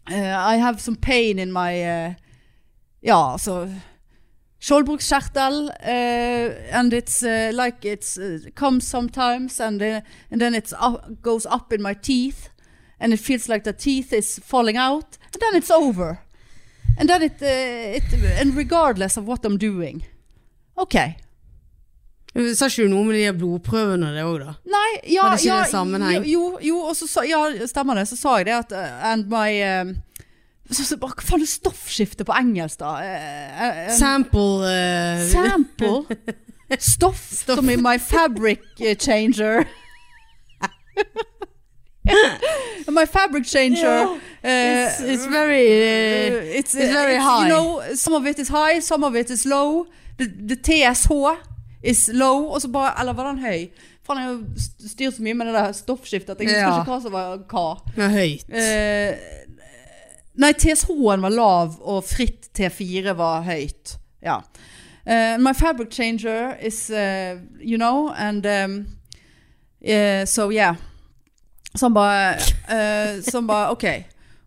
[SPEAKER 2] uh, I have some pain in my uh, Ja, altså Skjoldbruskkjertel. Uh, and it's uh, like it's uh, comes sometimes, and, uh, and then it goes up in my teeth. And it feels like the teeth is falling out. And then it's over. And then it, uh, it And regardless of what I'm doing. OK.
[SPEAKER 1] Men Sa ikke du noe med de her blodprøvene det òg, da?
[SPEAKER 2] Nei, ja,
[SPEAKER 1] Var det ikke
[SPEAKER 2] ja,
[SPEAKER 1] det sammenheng?
[SPEAKER 2] Jo, jo og så sa, ja, stemmer det. Så sa jeg det at eh, And my eh, så, så, Hva faen er stoffskifte på engelsk, da? Eh, eh,
[SPEAKER 1] Sample eh,
[SPEAKER 2] sample? Stoff,
[SPEAKER 1] Stoff.
[SPEAKER 2] som i my fabric eh, changer. my fabric changer. eh,
[SPEAKER 1] it's, it's very eh,
[SPEAKER 2] Eh, it's,
[SPEAKER 1] It's very high.
[SPEAKER 2] You know, some of it is high, some of it is low. The, the TSH is low, og så bare, eller var den høy? Faen, jeg har jo st- styrt så mye med det der stoffskiftet at jeg husker
[SPEAKER 1] Ja.
[SPEAKER 2] ikke hva som var hva.
[SPEAKER 1] ja, høyt.
[SPEAKER 2] Eh, nei, TSH-en var lav, og fritt T4 var høyt. Ja. Eh, my fabric changer is, eh, you know, and um, eh, so yeah. Så han bare, eh, så han bare, ok.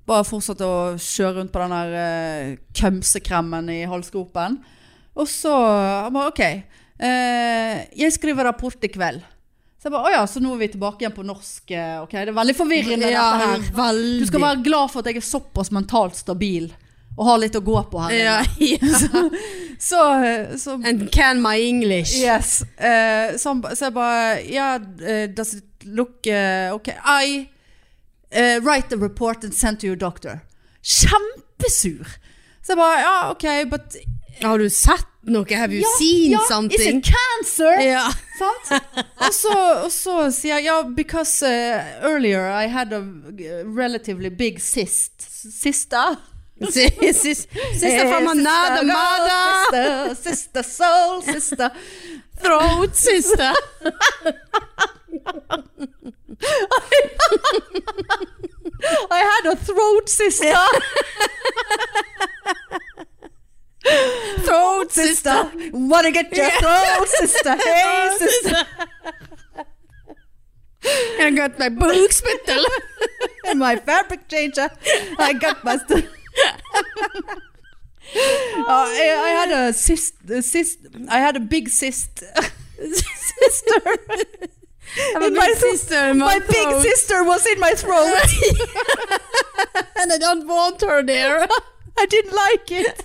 [SPEAKER 2] Bare fortsatte å kjøre rundt på den der eh, kømsekremmen i halsgropen. Og så, han bare, ok. eh, jeg skriver rapport i kveld. Så jeg bare, åja, så nå er vi tilbake igjen på norsk. eh, Ok, det er veldig forvirrende
[SPEAKER 1] ja,
[SPEAKER 2] dette her.
[SPEAKER 1] veldig.
[SPEAKER 2] Du skal være glad for at jeg er såpass mentalt stabil og har litt å gå på her.
[SPEAKER 1] ja, ja.
[SPEAKER 2] Så, så
[SPEAKER 1] And can my English.
[SPEAKER 2] Yes. eh, så, han ba- så jeg bare Ja, eh, does it look eh, OK? I eh, write the report and send to your doctor. Kjempesur! Så jeg bare Ja, OK, but
[SPEAKER 1] Har du sett noe? Have you
[SPEAKER 2] ja,
[SPEAKER 1] seen
[SPEAKER 2] ja, Is
[SPEAKER 1] something?
[SPEAKER 2] it cancer?
[SPEAKER 1] Ja.
[SPEAKER 2] Sant? Og så, og så sier jeg ja, because eh, earlier I had a eh, relatively big cyst. Sister?
[SPEAKER 1] Sis- sis- Sister from another mother.
[SPEAKER 2] Sister, sister soul, sister
[SPEAKER 1] Throat sister.
[SPEAKER 2] I had a throat sister.
[SPEAKER 1] Throat
[SPEAKER 2] sister. Wanna get your throat sister. Hey, sister.
[SPEAKER 1] And I got my books with the
[SPEAKER 2] And my fabric changer. I got my st- Uh, I, I had a cyst, a cyst. I had a big cyst. sister.
[SPEAKER 1] My,
[SPEAKER 2] In my, throat.
[SPEAKER 1] sister in my,
[SPEAKER 2] my big
[SPEAKER 1] throat.
[SPEAKER 2] sister was in my throat.
[SPEAKER 1] And I don't want her there.
[SPEAKER 2] I didn't like it.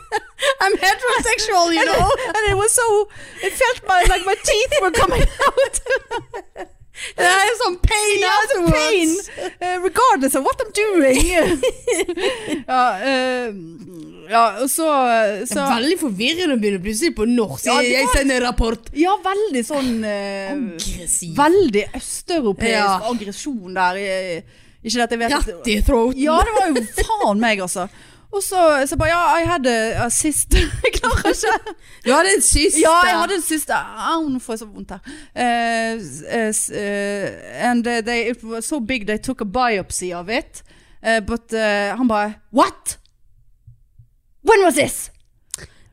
[SPEAKER 1] I'm heterosexual, you
[SPEAKER 2] And,
[SPEAKER 1] know.
[SPEAKER 2] it, and it was so. It felt my, like my teeth were coming out.
[SPEAKER 1] And I have some pain
[SPEAKER 2] Yeah, the
[SPEAKER 1] afterwards.
[SPEAKER 2] pain, uh, regardless of what I'm doing. ja, eh, Ja, og så,
[SPEAKER 1] Det
[SPEAKER 2] så
[SPEAKER 1] er veldig forvirrende å begynne plutselig på norsk.
[SPEAKER 2] Ja, det var-
[SPEAKER 1] Jeg sender rapport.
[SPEAKER 2] Ja, veldig sånn eh,
[SPEAKER 1] Aggressiv.
[SPEAKER 2] Veldig østeuropeisk
[SPEAKER 1] Ja.
[SPEAKER 2] aggresjon der. eh, Ikke dette jeg vet at-
[SPEAKER 1] Rett i throaten.
[SPEAKER 2] Ja, det var jo faen meg, altså. Og så, så bare Ja, I had a, a sister. Jeg klarer ikke.
[SPEAKER 1] Du hadde en siste.
[SPEAKER 2] Ja, jeg hadde en siste Au, nå får jeg så vondt her. Eh, s- eh, and eh, they, it was so big they took a biopsy of it. Eh, but eh, han bare What? When was this?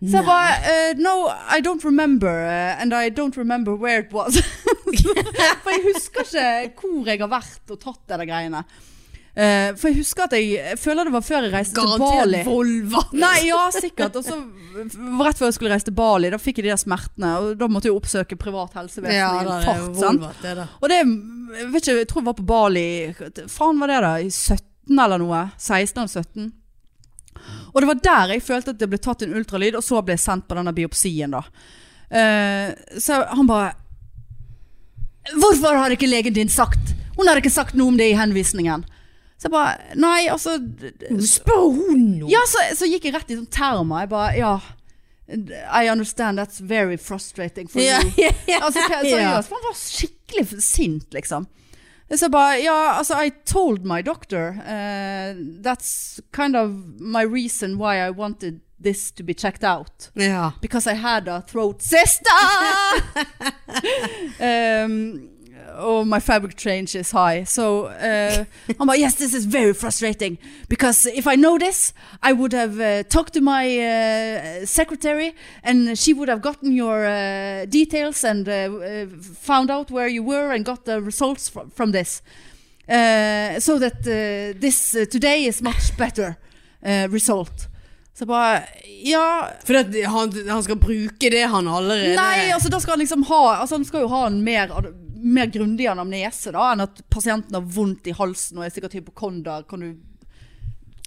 [SPEAKER 2] Så jeg bare eh, No, I don't remember. eh, and I don't remember where it was. for jeg husker ikke hvor jeg har vært og tatt det der greiene. Eh, for jeg husker at jeg, jeg føler det var før jeg reiste til Bali.
[SPEAKER 1] Garantert Volva.
[SPEAKER 2] Nei, ja, sikkert. Og så f- rett før jeg skulle reise til Bali, da fikk jeg de der smertene. Og da måtte jeg oppsøke privat helsevesen
[SPEAKER 1] Ja,
[SPEAKER 2] i
[SPEAKER 1] det
[SPEAKER 2] en
[SPEAKER 1] er
[SPEAKER 2] fart. Sant?
[SPEAKER 1] Volva, det er det.
[SPEAKER 2] Og det, jeg vet ikke, jeg tror jeg var på Bali Faen var det da, i 17 eller noe 16 eller 17 Og det var der jeg følte at det ble tatt en ultralyd Og så ble jeg sendt på denne biopsien da Eh, Så han bare Hvorfor har ikke legen din sagt Hun har ikke sagt noe om det i henvisningen Så jeg bare, nei altså d- d-
[SPEAKER 1] Spør hun nå?
[SPEAKER 2] ja, så, så gikk jeg rett i sånn termer. Jeg bare, ja I understand that's very frustrating for
[SPEAKER 1] Ja,
[SPEAKER 2] you.
[SPEAKER 1] ja, ja.
[SPEAKER 2] Altså, så- seriøst, for han var skikkelig sint, liksom. Så jeg bare, ja, altså, I told my doctor eh, That's kind of my reason why I wanted this to be checked out.
[SPEAKER 1] Ja.
[SPEAKER 2] Because I had a throat sister! um, oh, my fabric change is high. So uh, I'm like, yes, this is very frustrating. Because if I know this, I would have uh, talked to my uh, secretary and she would have gotten your uh, details and uh, uh, found out where you were and got the results fr from this. Uh, so that uh, this uh, today is much better uh, result. Så bare, ja,
[SPEAKER 1] For det, han, han skal bruke det han allerede
[SPEAKER 2] Nei, altså da skal han liksom ha altså, Han skal jo ha en mer, mer grundig anamnese da Enn at pasienten har vondt i halsen Og er sikkert hypokonder Kan du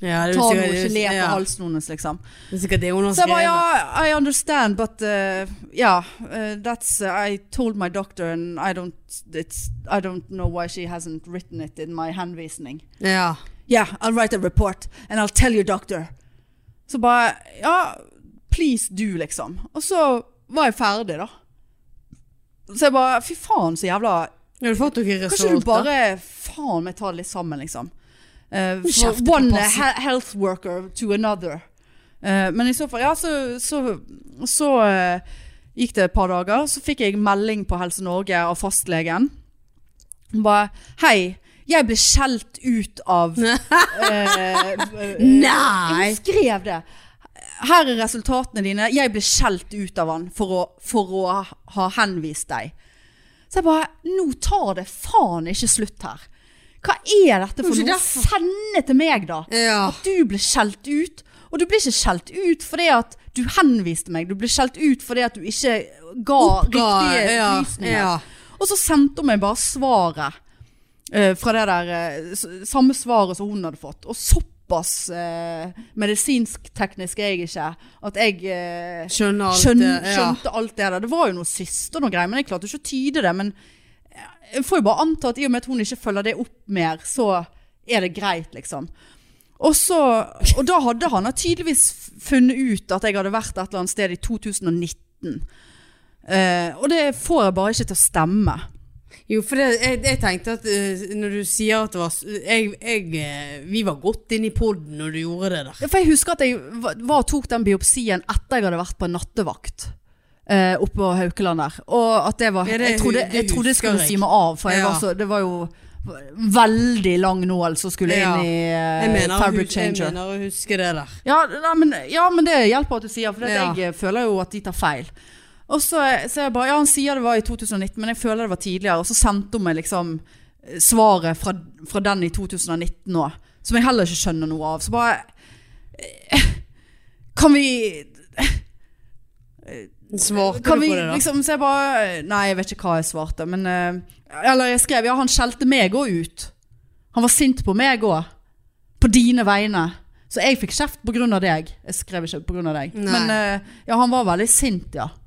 [SPEAKER 1] ja, det er
[SPEAKER 2] ta noe
[SPEAKER 1] sikkert-
[SPEAKER 2] gelé på
[SPEAKER 1] ja.
[SPEAKER 2] halsen hennes liksom
[SPEAKER 1] Det er sikkert det hun har
[SPEAKER 2] Så jeg
[SPEAKER 1] skrevet.
[SPEAKER 2] bare, ja, I understand But uh, yeah uh, That's, uh, I told my doctor And I don't, it's, I don't know why she hasn't written it In my handvisning
[SPEAKER 1] ja.
[SPEAKER 2] Yeah, I'll write a report and I'll tell your doctor. Så bare, ja, please du liksom. Og så var jeg ferdig da. Så jeg bare, fy faen så jævla,
[SPEAKER 1] Har du fått noen
[SPEAKER 2] kanskje du
[SPEAKER 1] resultater?
[SPEAKER 2] bare, faen meg ta det litt sammen liksom. Eh,
[SPEAKER 1] Kjeft
[SPEAKER 2] for
[SPEAKER 1] på
[SPEAKER 2] one
[SPEAKER 1] passet.
[SPEAKER 2] he health worker to another. Eh, men i så fall, ja, så, så, så eh, gikk det et par dager, så fikk jeg melding på Helse Norge av fastlegen. Hun bare, hei, jeg ble skjelt ut av eh,
[SPEAKER 1] Nei!
[SPEAKER 2] hun skrev det. Her er resultatene dine. Jeg ble skjelt ut av han for å, for å ha henvist deg. Så jeg bare Nå tar det faen ikke slutt her. Hva er dette for
[SPEAKER 1] Det er ikke
[SPEAKER 2] noe?
[SPEAKER 1] derfor.
[SPEAKER 2] Sende til meg, da.
[SPEAKER 1] Ja.
[SPEAKER 2] At du ble skjelt ut. Og du ble ikke skjelt ut fordi at du henviste meg. Du ble skjelt ut fordi at du ikke ga riktige
[SPEAKER 1] ja,
[SPEAKER 2] opplysninger.
[SPEAKER 1] ja.
[SPEAKER 2] Og så sendte hun meg bare svaret eh, fra det der eh, s- Samme svaret som hun hadde fått. Og såpass eh, medisinsk-teknisk er jeg ikke at jeg eh,
[SPEAKER 1] Skjønner alt
[SPEAKER 2] skjøn,
[SPEAKER 1] det. Ja.
[SPEAKER 2] skjønte alt det der. Det var jo noe syster og noe greier, men jeg klarte jo ikke å tyde det. Men jeg får jo bare anta at i og med at hun ikke følger det opp mer, så er det greit, liksom. Og, så, og da hadde han tydeligvis funnet ut at jeg hadde vært et eller annet sted i 2019. Eh, og det får jeg bare ikke til å stemme.
[SPEAKER 1] Jo, for det, jeg, jeg tenkte at eh, når du sier at det var s- jeg, jeg, eh, Vi var godt inne i poden når du gjorde det der.
[SPEAKER 2] Ja, For jeg husker at jeg va- var og tok den biopsien etter jeg hadde vært på en nattevakt. eh, oppe på Haukeland der. Og at det var
[SPEAKER 1] Ja, det-
[SPEAKER 2] Jeg trodde
[SPEAKER 1] det
[SPEAKER 2] jeg trodde det
[SPEAKER 1] husker
[SPEAKER 2] skulle
[SPEAKER 1] jeg.
[SPEAKER 2] si meg av, for jeg
[SPEAKER 1] Ja.
[SPEAKER 2] var så, det var jo veldig lang nål som skulle
[SPEAKER 1] Ja.
[SPEAKER 2] inn i
[SPEAKER 1] Jeg
[SPEAKER 2] eh,
[SPEAKER 1] mener, å
[SPEAKER 2] fabric
[SPEAKER 1] hus- jeg
[SPEAKER 2] changer.
[SPEAKER 1] mener å huske det der.
[SPEAKER 2] Ja, nei, men, ja, men det hjelper at du sier, for at
[SPEAKER 1] Ja.
[SPEAKER 2] jeg eh, føler jo at de tar feil. Og så, eh, så jeg bare, ja, han sier det var i 2019, men jeg føler det var tidligere. Og så sendte hun meg liksom eh, svaret fra, fra den i 2019 òg, som jeg heller ikke skjønner noe av. Så bare eh, Kan vi
[SPEAKER 1] Svarte
[SPEAKER 2] kan
[SPEAKER 1] du
[SPEAKER 2] vi
[SPEAKER 1] på det, da?
[SPEAKER 2] liksom Så jeg bare Nei, jeg vet ikke hva jeg svarte, men eh, Eller jeg skrev Ja, han skjelte meg òg ut. Han var sint på meg òg. På dine vegne. Så jeg fikk kjeft på grunn av deg. Jeg skrev ikke på grunn av deg.
[SPEAKER 1] Nei.
[SPEAKER 2] Men eh, ja, han var veldig sint, ja.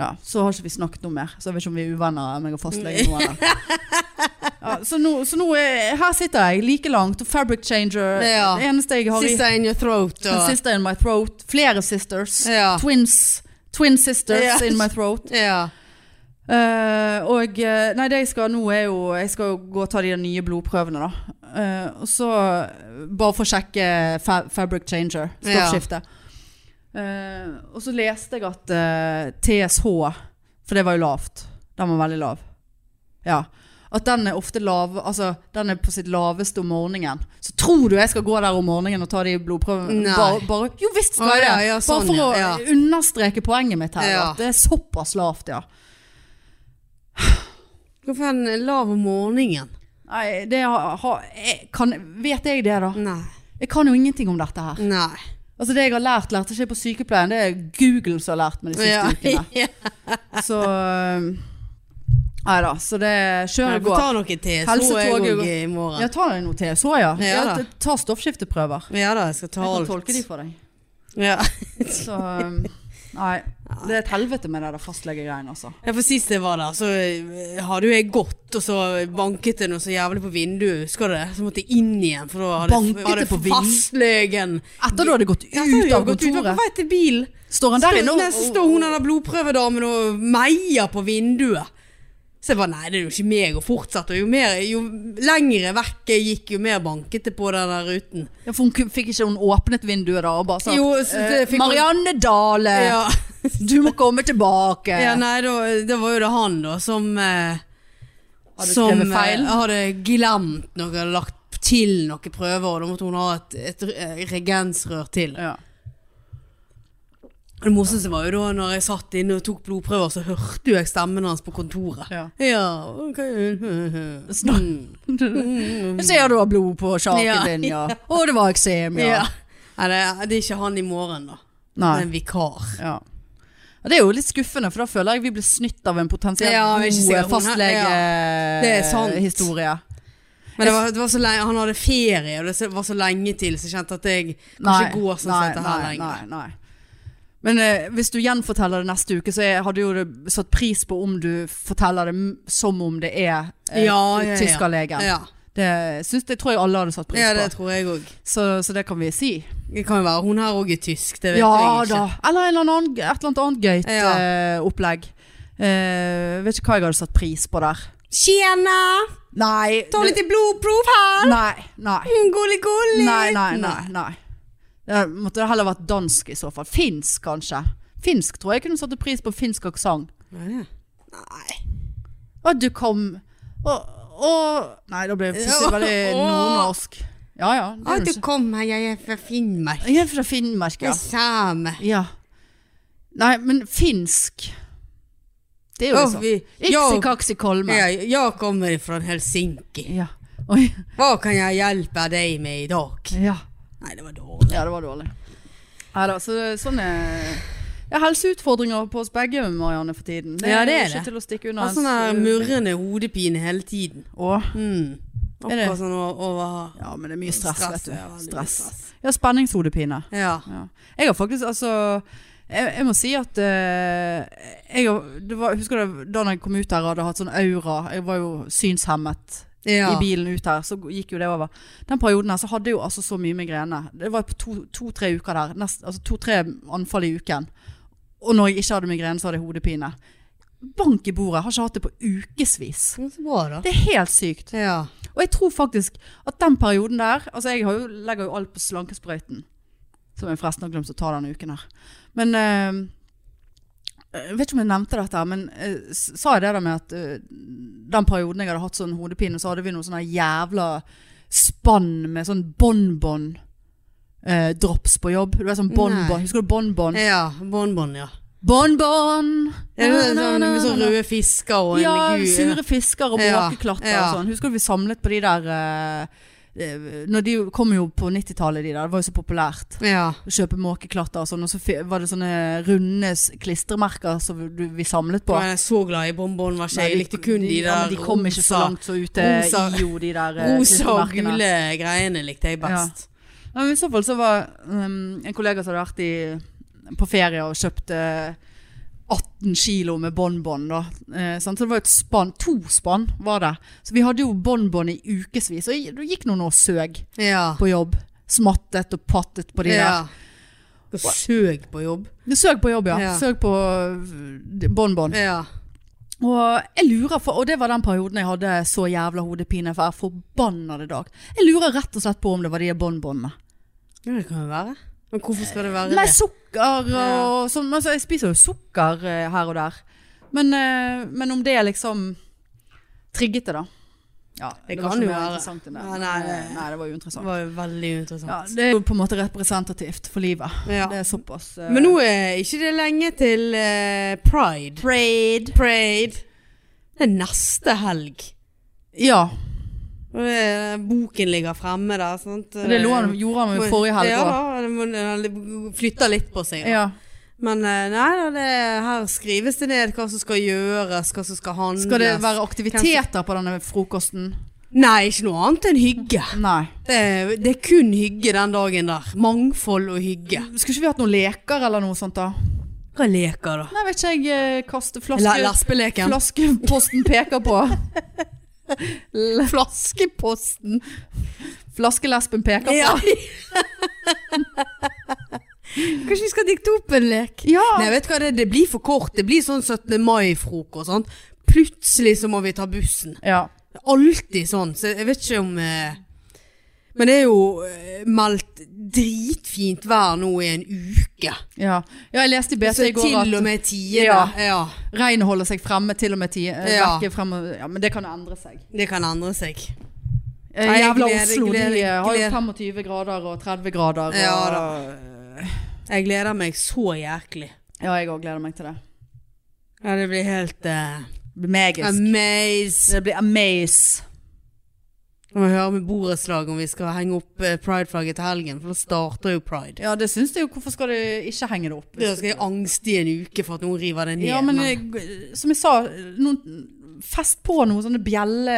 [SPEAKER 2] Ja, Så har ikke vi snakket noe mer. Så jeg vet ikke om vi er uvenner, om jeg har fastlege nå eller Ja, så nå, så nå er, her sitter jeg like langt, og fabric changer
[SPEAKER 1] Ja.
[SPEAKER 2] Det eneste jeg har i
[SPEAKER 1] Sister in your throat
[SPEAKER 2] en
[SPEAKER 1] og
[SPEAKER 2] sister in my throat. Flere sisters.
[SPEAKER 1] Ja.
[SPEAKER 2] Twins. Twin sisters
[SPEAKER 1] Ja.
[SPEAKER 2] in my throat.
[SPEAKER 1] ja.
[SPEAKER 2] Eh, og eh, Nei, det jeg skal nå er jo Jeg skal jo gå og ta de nye blodprøvene, da. Eh, og så eh, Bare for å sjekke fa fabric changer.
[SPEAKER 1] Ja.
[SPEAKER 2] Stoffskifte. Eh, og så leste jeg at eh, TSH For det var jo lavt. Den var veldig lav. Ja. At den er ofte lav Altså, den er på sitt laveste om morgenen. Så tror du jeg skal gå der om morgenen og ta de blodprøvene?
[SPEAKER 1] Nei.
[SPEAKER 2] Bare, bare, jo visst skal
[SPEAKER 1] Å,
[SPEAKER 2] jeg det!
[SPEAKER 1] ja, ja, sånn,
[SPEAKER 2] bare for å
[SPEAKER 1] ja, ja.
[SPEAKER 2] understreke poenget mitt her.
[SPEAKER 1] Ja.
[SPEAKER 2] At det er såpass lavt, ja.
[SPEAKER 1] Hvorfor er den lav om morgenen?
[SPEAKER 2] Nei, det har, har jeg kan, Vet jeg det, da?
[SPEAKER 1] Nei.
[SPEAKER 2] Jeg kan jo ingenting om dette her.
[SPEAKER 1] Nei.
[SPEAKER 2] Altså Det jeg har lært, lærte ikke jeg på sykepleien. Det er Google som har lært meg de siste
[SPEAKER 1] Ja.
[SPEAKER 2] ukene.
[SPEAKER 1] Ja.
[SPEAKER 2] Så øhm, Nei da. Så det kjører
[SPEAKER 1] Jeg
[SPEAKER 2] og
[SPEAKER 1] får
[SPEAKER 2] går.
[SPEAKER 1] ta noe til. Så er
[SPEAKER 2] Helsetoget
[SPEAKER 1] jeg
[SPEAKER 2] går.
[SPEAKER 1] òg i morgen.
[SPEAKER 2] Ja, ta deg noe TSH, ja.
[SPEAKER 1] Ja,
[SPEAKER 2] ja
[SPEAKER 1] da.
[SPEAKER 2] t- ta stoffskifteprøver.
[SPEAKER 1] Ja da, jeg skal ta
[SPEAKER 2] Jeg kan
[SPEAKER 1] alt.
[SPEAKER 2] tolke de for deg.
[SPEAKER 1] Ja.
[SPEAKER 2] Så øhm, Nei. Det er et helvete med det der fastlegegreiene, altså.
[SPEAKER 1] Ja, for sist jeg var der, så eh, hadde jo jeg gått, og så banket det noe så jævlig på vinduet, husker du det? Så måtte jeg inn igjen, for da hadde,
[SPEAKER 2] Banket
[SPEAKER 1] hadde
[SPEAKER 2] det på vinduet?
[SPEAKER 1] fastlegen
[SPEAKER 2] Etter du hadde gått ut
[SPEAKER 1] Ja, så hadde jeg
[SPEAKER 2] av
[SPEAKER 1] gått ut, var på
[SPEAKER 2] kontoret,
[SPEAKER 1] vei til bil.
[SPEAKER 2] står han
[SPEAKER 1] Så
[SPEAKER 2] der inne og-
[SPEAKER 1] nei, så står hun der blodprøvedamen og meier på vinduet. Så jeg bare nei, det er jo ikke meg å fortsette. Og jo, mer, jo lengre vekk jeg gikk, jo mer banket det på den der ruten.
[SPEAKER 2] Ja, for hun ku- fikk ikke hun åpnet vinduet da og bare sagt
[SPEAKER 1] Jo, så det
[SPEAKER 2] eh,
[SPEAKER 1] fikk hun-
[SPEAKER 2] Marianne Dale,
[SPEAKER 1] Ja,
[SPEAKER 2] du må komme tilbake.
[SPEAKER 1] ja nei, da, det var jo det han da som eh,
[SPEAKER 2] Hadde
[SPEAKER 1] som
[SPEAKER 2] skrevet feil?
[SPEAKER 1] eh, hadde glemt noe, hadde lagt til noen prøver, og da måtte hun ha et, et eh, regensrør til.
[SPEAKER 2] Ja.
[SPEAKER 1] Det morsomste var jo da når jeg satt inne og tok blodprøver, så hørte jo jeg stemmen hans på kontoret.
[SPEAKER 2] Ja.
[SPEAKER 1] Ja, ok. Mm.
[SPEAKER 2] Snakk. Jeg ser du har blod på sjaken
[SPEAKER 1] Um. Ja.
[SPEAKER 2] din, ja. Og det var eksem, ja.
[SPEAKER 1] Ja. Nei, det, er- det er ikke han i morgen, da. Det er
[SPEAKER 2] Nei.
[SPEAKER 1] en vikar.
[SPEAKER 2] Ja. Ja, Det er jo litt skuffende, for da føler jeg vi blir snytt av en potensielt
[SPEAKER 1] Ja, jeg er ikke sikker
[SPEAKER 2] god
[SPEAKER 1] på om han- Det er sant.
[SPEAKER 2] fastlegehistorie.
[SPEAKER 1] Men det var, det var så lenge, han hadde ferie, og det var så lenge til, så jeg kjente at jeg kanskje
[SPEAKER 2] Nei,
[SPEAKER 1] går sånn
[SPEAKER 2] nei,
[SPEAKER 1] sett her
[SPEAKER 2] nei,
[SPEAKER 1] lenger.
[SPEAKER 2] Nei, nei. Men eh, hvis du gjenforteller det neste uke, så jeg hadde jo det- satt pris på om du forteller det m- som om det er eh,
[SPEAKER 1] Ja, ja, ja.
[SPEAKER 2] tyskerlegen.
[SPEAKER 1] Ja,
[SPEAKER 2] Det, syns, det tror jeg alle hadde satt pris
[SPEAKER 1] ja, det
[SPEAKER 2] på.
[SPEAKER 1] tror jeg òg.
[SPEAKER 2] Så, så det kan vi si.
[SPEAKER 1] Det kan jo være hun her òg er tysk, det vet
[SPEAKER 2] Ja
[SPEAKER 1] jeg ikke.
[SPEAKER 2] da. Eller, en eller annen, et eller annet annet gøyt
[SPEAKER 1] Ja.
[SPEAKER 2] eh, opplegg. Eh, vet ikke hva jeg hadde satt pris på der.
[SPEAKER 1] Tjena!
[SPEAKER 2] Nei.
[SPEAKER 1] Ta
[SPEAKER 2] det-
[SPEAKER 1] litt blodprov her!
[SPEAKER 2] Nei, nei.
[SPEAKER 1] Mm, Gulli, gulli!
[SPEAKER 2] Nei, nei, nei. nei. Det måtte heller vært dansk i så fall. Finsk kanskje. Finsk tror jeg kunne satt pris på finsk aksent.
[SPEAKER 1] Nei. Nei.
[SPEAKER 2] Og du kom og, og Nei, da ble jeg plutselig veldig
[SPEAKER 1] Åh.
[SPEAKER 2] nordnorsk. Ja ja. Det
[SPEAKER 1] Å,
[SPEAKER 2] er
[SPEAKER 1] du
[SPEAKER 2] jo ikke.
[SPEAKER 1] kom her, jeg er fra Finnmark.
[SPEAKER 2] Jeg er fra Finnmark,
[SPEAKER 1] Jeg
[SPEAKER 2] ja.
[SPEAKER 1] er same.
[SPEAKER 2] ja. Nei, men finsk Det er jo
[SPEAKER 1] Å,
[SPEAKER 2] liksom
[SPEAKER 1] vi-
[SPEAKER 2] Iksi kaksi kolme.
[SPEAKER 1] Jeg, jeg kommer fra Helsinki.
[SPEAKER 2] Ja. Oi.
[SPEAKER 1] Hva kan jeg hjelpe deg med i dag?
[SPEAKER 2] Ja.
[SPEAKER 1] Nei, det var dårlig.
[SPEAKER 2] ja, det var dårlig. Nei da, så det- sånn er ja, helseutfordringer på oss begge, Marianne, for tiden.
[SPEAKER 1] Ja, det er
[SPEAKER 2] jo
[SPEAKER 1] det.
[SPEAKER 2] ikke til å stikke
[SPEAKER 1] Jeg
[SPEAKER 2] unna.
[SPEAKER 1] har sånn her
[SPEAKER 2] ens-
[SPEAKER 1] murrende hodepine hele tiden.
[SPEAKER 2] Å.
[SPEAKER 1] Mm.
[SPEAKER 2] Er det?
[SPEAKER 1] Akkurat sånn over- over
[SPEAKER 2] Ja, men det er mye stress,
[SPEAKER 1] Stress,
[SPEAKER 2] vet
[SPEAKER 1] ja, veldig
[SPEAKER 2] du.
[SPEAKER 1] mye
[SPEAKER 2] Stress.
[SPEAKER 1] stress.
[SPEAKER 2] Ja, spenningshodepine.
[SPEAKER 1] Ja.
[SPEAKER 2] Ja. Jeg har faktisk, altså Jeg, jeg må si at eh, jeg, har- det var, Husker du da jeg kom ut her og hadde hatt sånn aura? Jeg var jo synshemmet
[SPEAKER 1] ja.
[SPEAKER 2] i bilen ut her, så gikk jo det over. Den perioden her så hadde jeg jo altså så mye migrene. Det var to-tre to, tre uker der. Nest, altså to-tre anfall i uken. Og når jeg ikke hadde migrene, så hadde jeg hodepine. Bank i bordet. Har ikke hatt det på ukevis.
[SPEAKER 1] Men Så bra, da.
[SPEAKER 2] Det er helt sykt.
[SPEAKER 1] Ja.
[SPEAKER 2] Og jeg tror faktisk at den perioden der Altså jeg har jo, legger jo alt på slankesprøyten. Som jeg forresten har glemt å ta denne uken her. Men eh, Jeg vet ikke om jeg nevnte dette, her, men eh, s- sa jeg det der med at eh, den perioden jeg hadde hatt sånn hodepine, så hadde vi noe sånne jævla spann med sånn bonbon-drops på jobb. Du vet sånn bonbon.
[SPEAKER 1] Nei.
[SPEAKER 2] Husker du bonbon?
[SPEAKER 1] ja. Bonbon, ja.
[SPEAKER 2] Bonbon!
[SPEAKER 1] Ja, det er sånn,
[SPEAKER 2] Na-na-na-na-na.
[SPEAKER 1] med sånne røde fisker og en
[SPEAKER 2] Ja,
[SPEAKER 1] gul-
[SPEAKER 2] sure fisker og
[SPEAKER 1] Ja,
[SPEAKER 2] måkeklatter
[SPEAKER 1] ja.
[SPEAKER 2] og sånn. Husker du vi samlet på de der eh, eh, Når de kom jo på 90-tallet, de der. Det var jo så populært.
[SPEAKER 1] Ja.
[SPEAKER 2] Å kjøpe måkeklatter og sånn. Og så fi- var det sånne runde s- klistremerker som du- vi samlet på.
[SPEAKER 1] Jeg er så glad i bonbon, var ikke
[SPEAKER 2] Nei,
[SPEAKER 1] jeg. Jeg likte kun de, der
[SPEAKER 2] ja, men de kom ikke så
[SPEAKER 1] rosa-
[SPEAKER 2] langt så ute
[SPEAKER 1] rosa-
[SPEAKER 2] i jo, de der eh,
[SPEAKER 1] Rosa og
[SPEAKER 2] klistremerkene.
[SPEAKER 1] gule greiene likte jeg best.
[SPEAKER 2] Ja, men I ehm, så fall så var um, en kollega som hadde vært i, på ferie og kjøpt eh, 18 kilo med bonbon da. Eh, sant? så det var jo et spann, to spann var det. Så vi hadde jo bonbon i ukevis, og jeg- det gikk noen år søg
[SPEAKER 1] Ja.
[SPEAKER 2] på jobb. Smattet og pattet på de der.
[SPEAKER 1] ja. Og søg på jobb.
[SPEAKER 2] Du søg på jobb, ja.
[SPEAKER 1] Ja.
[SPEAKER 2] Søg på øh, bonbon.
[SPEAKER 1] Ja.
[SPEAKER 2] Og jeg lurer for, og det var den perioden jeg hadde så jævla hodepine for jeg forbannede dag. Jeg lurer rett og slett på om det var de bonbonene.
[SPEAKER 1] Ja, det kan jo være. Men hvorfor skal det være
[SPEAKER 2] Nei,
[SPEAKER 1] det?
[SPEAKER 2] sukker
[SPEAKER 1] Ja.
[SPEAKER 2] og sånn. Altså, jeg spiser jo sukker eh, her og der. Men, eh, men om det liksom trigget det, da. Ja,
[SPEAKER 1] Det
[SPEAKER 2] var
[SPEAKER 1] kan
[SPEAKER 2] ikke
[SPEAKER 1] jo
[SPEAKER 2] mer
[SPEAKER 1] være.
[SPEAKER 2] interessant enn det.
[SPEAKER 1] Ja, nei,
[SPEAKER 2] Men, eh,
[SPEAKER 1] det-
[SPEAKER 2] nei, det var jo
[SPEAKER 1] Det
[SPEAKER 2] interessant.
[SPEAKER 1] var jo veldig
[SPEAKER 2] Ja,
[SPEAKER 1] interessant.
[SPEAKER 2] det er jo på en måte representativt for livet.
[SPEAKER 1] Ja.
[SPEAKER 2] Det er såpass eh,
[SPEAKER 1] Men nå er ikke det lenge til eh, pride.
[SPEAKER 2] Parade.
[SPEAKER 1] Pride. Det er neste helg.
[SPEAKER 2] Ja.
[SPEAKER 1] Og det, boken ligger fremme der. Sant?
[SPEAKER 2] Det lå han, gjorde han jo forrige helg
[SPEAKER 1] Ja
[SPEAKER 2] òg.
[SPEAKER 1] da, den må- den flytter litt på seg. da.
[SPEAKER 2] Ja.
[SPEAKER 1] Men eh, nei, da, det, her skrives det ned hva som skal gjøres, hva som skal handles.
[SPEAKER 2] Skal det være aktiviteter på denne frokosten?
[SPEAKER 1] Nei, ikke noe annet enn hygge.
[SPEAKER 2] Nei.
[SPEAKER 1] Det, er- det er kun hygge den dagen der. Mangfold og hygge.
[SPEAKER 2] Skulle ikke vi hatt noen leker eller noe sånt da?
[SPEAKER 1] Hva er leker, da?
[SPEAKER 2] Nei, vet ikke jeg. eh, Kaste
[SPEAKER 1] La,
[SPEAKER 2] flaske...
[SPEAKER 1] laspeleken.
[SPEAKER 2] Flaskeposten peker på.
[SPEAKER 1] Flaskeposten.
[SPEAKER 2] Flaskelesben peker på.
[SPEAKER 1] Ja. Kanskje vi skal dikte opp en lek?
[SPEAKER 2] Ja.
[SPEAKER 1] Nei, vet du hva, det, det blir for kort. Det blir sånn 17. mai-frokost. sant? Plutselig så må vi ta bussen.
[SPEAKER 2] ja.
[SPEAKER 1] Det er Alltid sånn. Så jeg vet ikke om eh, Men det er jo eh, meldt dritfint vær nå i en uke.
[SPEAKER 2] Ja. ja, jeg leste i BT
[SPEAKER 1] Så
[SPEAKER 2] i går
[SPEAKER 1] til og
[SPEAKER 2] at
[SPEAKER 1] med tiende.
[SPEAKER 2] Ja.
[SPEAKER 1] Ja.
[SPEAKER 2] regnet holder seg fremme til og med ti. eh,
[SPEAKER 1] Ja.
[SPEAKER 2] vekke frem og- ja, men det kan jo endre seg.
[SPEAKER 1] Det kan endre seg. Nei,
[SPEAKER 2] Eh,
[SPEAKER 1] jeg
[SPEAKER 2] Jævla
[SPEAKER 1] gleder-
[SPEAKER 2] Oslo,
[SPEAKER 1] gleder-
[SPEAKER 2] de eh, har jo
[SPEAKER 1] gleder-
[SPEAKER 2] 25 grader og 30 grader. Og,
[SPEAKER 1] Ja Jeg gleder meg så jæklig.
[SPEAKER 2] Ja, jeg òg gleder meg til det.
[SPEAKER 1] Ja, det blir helt eh,
[SPEAKER 2] Det blir magisk.
[SPEAKER 1] amaze.
[SPEAKER 2] Det blir amaze.
[SPEAKER 1] Vi må høre med borettslaget om vi skal henge opp eh, prideflagget til helgen, for da starter jo pride.
[SPEAKER 2] Ja, det syns jeg jo. Hvorfor skal du ikke henge det opp?
[SPEAKER 1] Da skal jeg angste i en uke for at noen river det ned.
[SPEAKER 2] Ja, men eh, som jeg sa, noen, fest på noen sånne bjelle,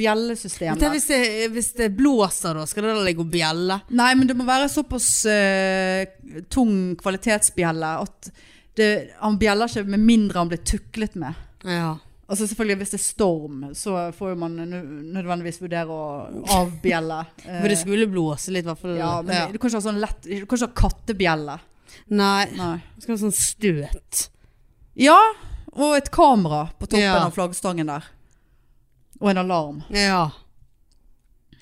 [SPEAKER 2] bjellesystemer.
[SPEAKER 1] Tenk hvis, det, hvis det blåser, da? Skal det da ligge og bjelle?
[SPEAKER 2] Nei, men det må være såpass eh, tung kvalitetsbjelle at det, han bjeller ikke med mindre han blir tuklet med.
[SPEAKER 1] Ja.
[SPEAKER 2] Altså selvfølgelig Hvis det er storm, så får jo man nø- nødvendigvis vurdere å avbjelle. eh,
[SPEAKER 1] Men det skulle blåse litt, i hvert fall.
[SPEAKER 2] ja, men Du kan ikke ha sånn lett Du kan ikke ha kattebjelle.
[SPEAKER 1] Nei.
[SPEAKER 2] Nei.
[SPEAKER 1] Det skal være sånn støt.
[SPEAKER 2] Ja, og et kamera på toppen
[SPEAKER 1] Ja.
[SPEAKER 2] av flaggstangen der. Og en alarm.
[SPEAKER 1] Ja.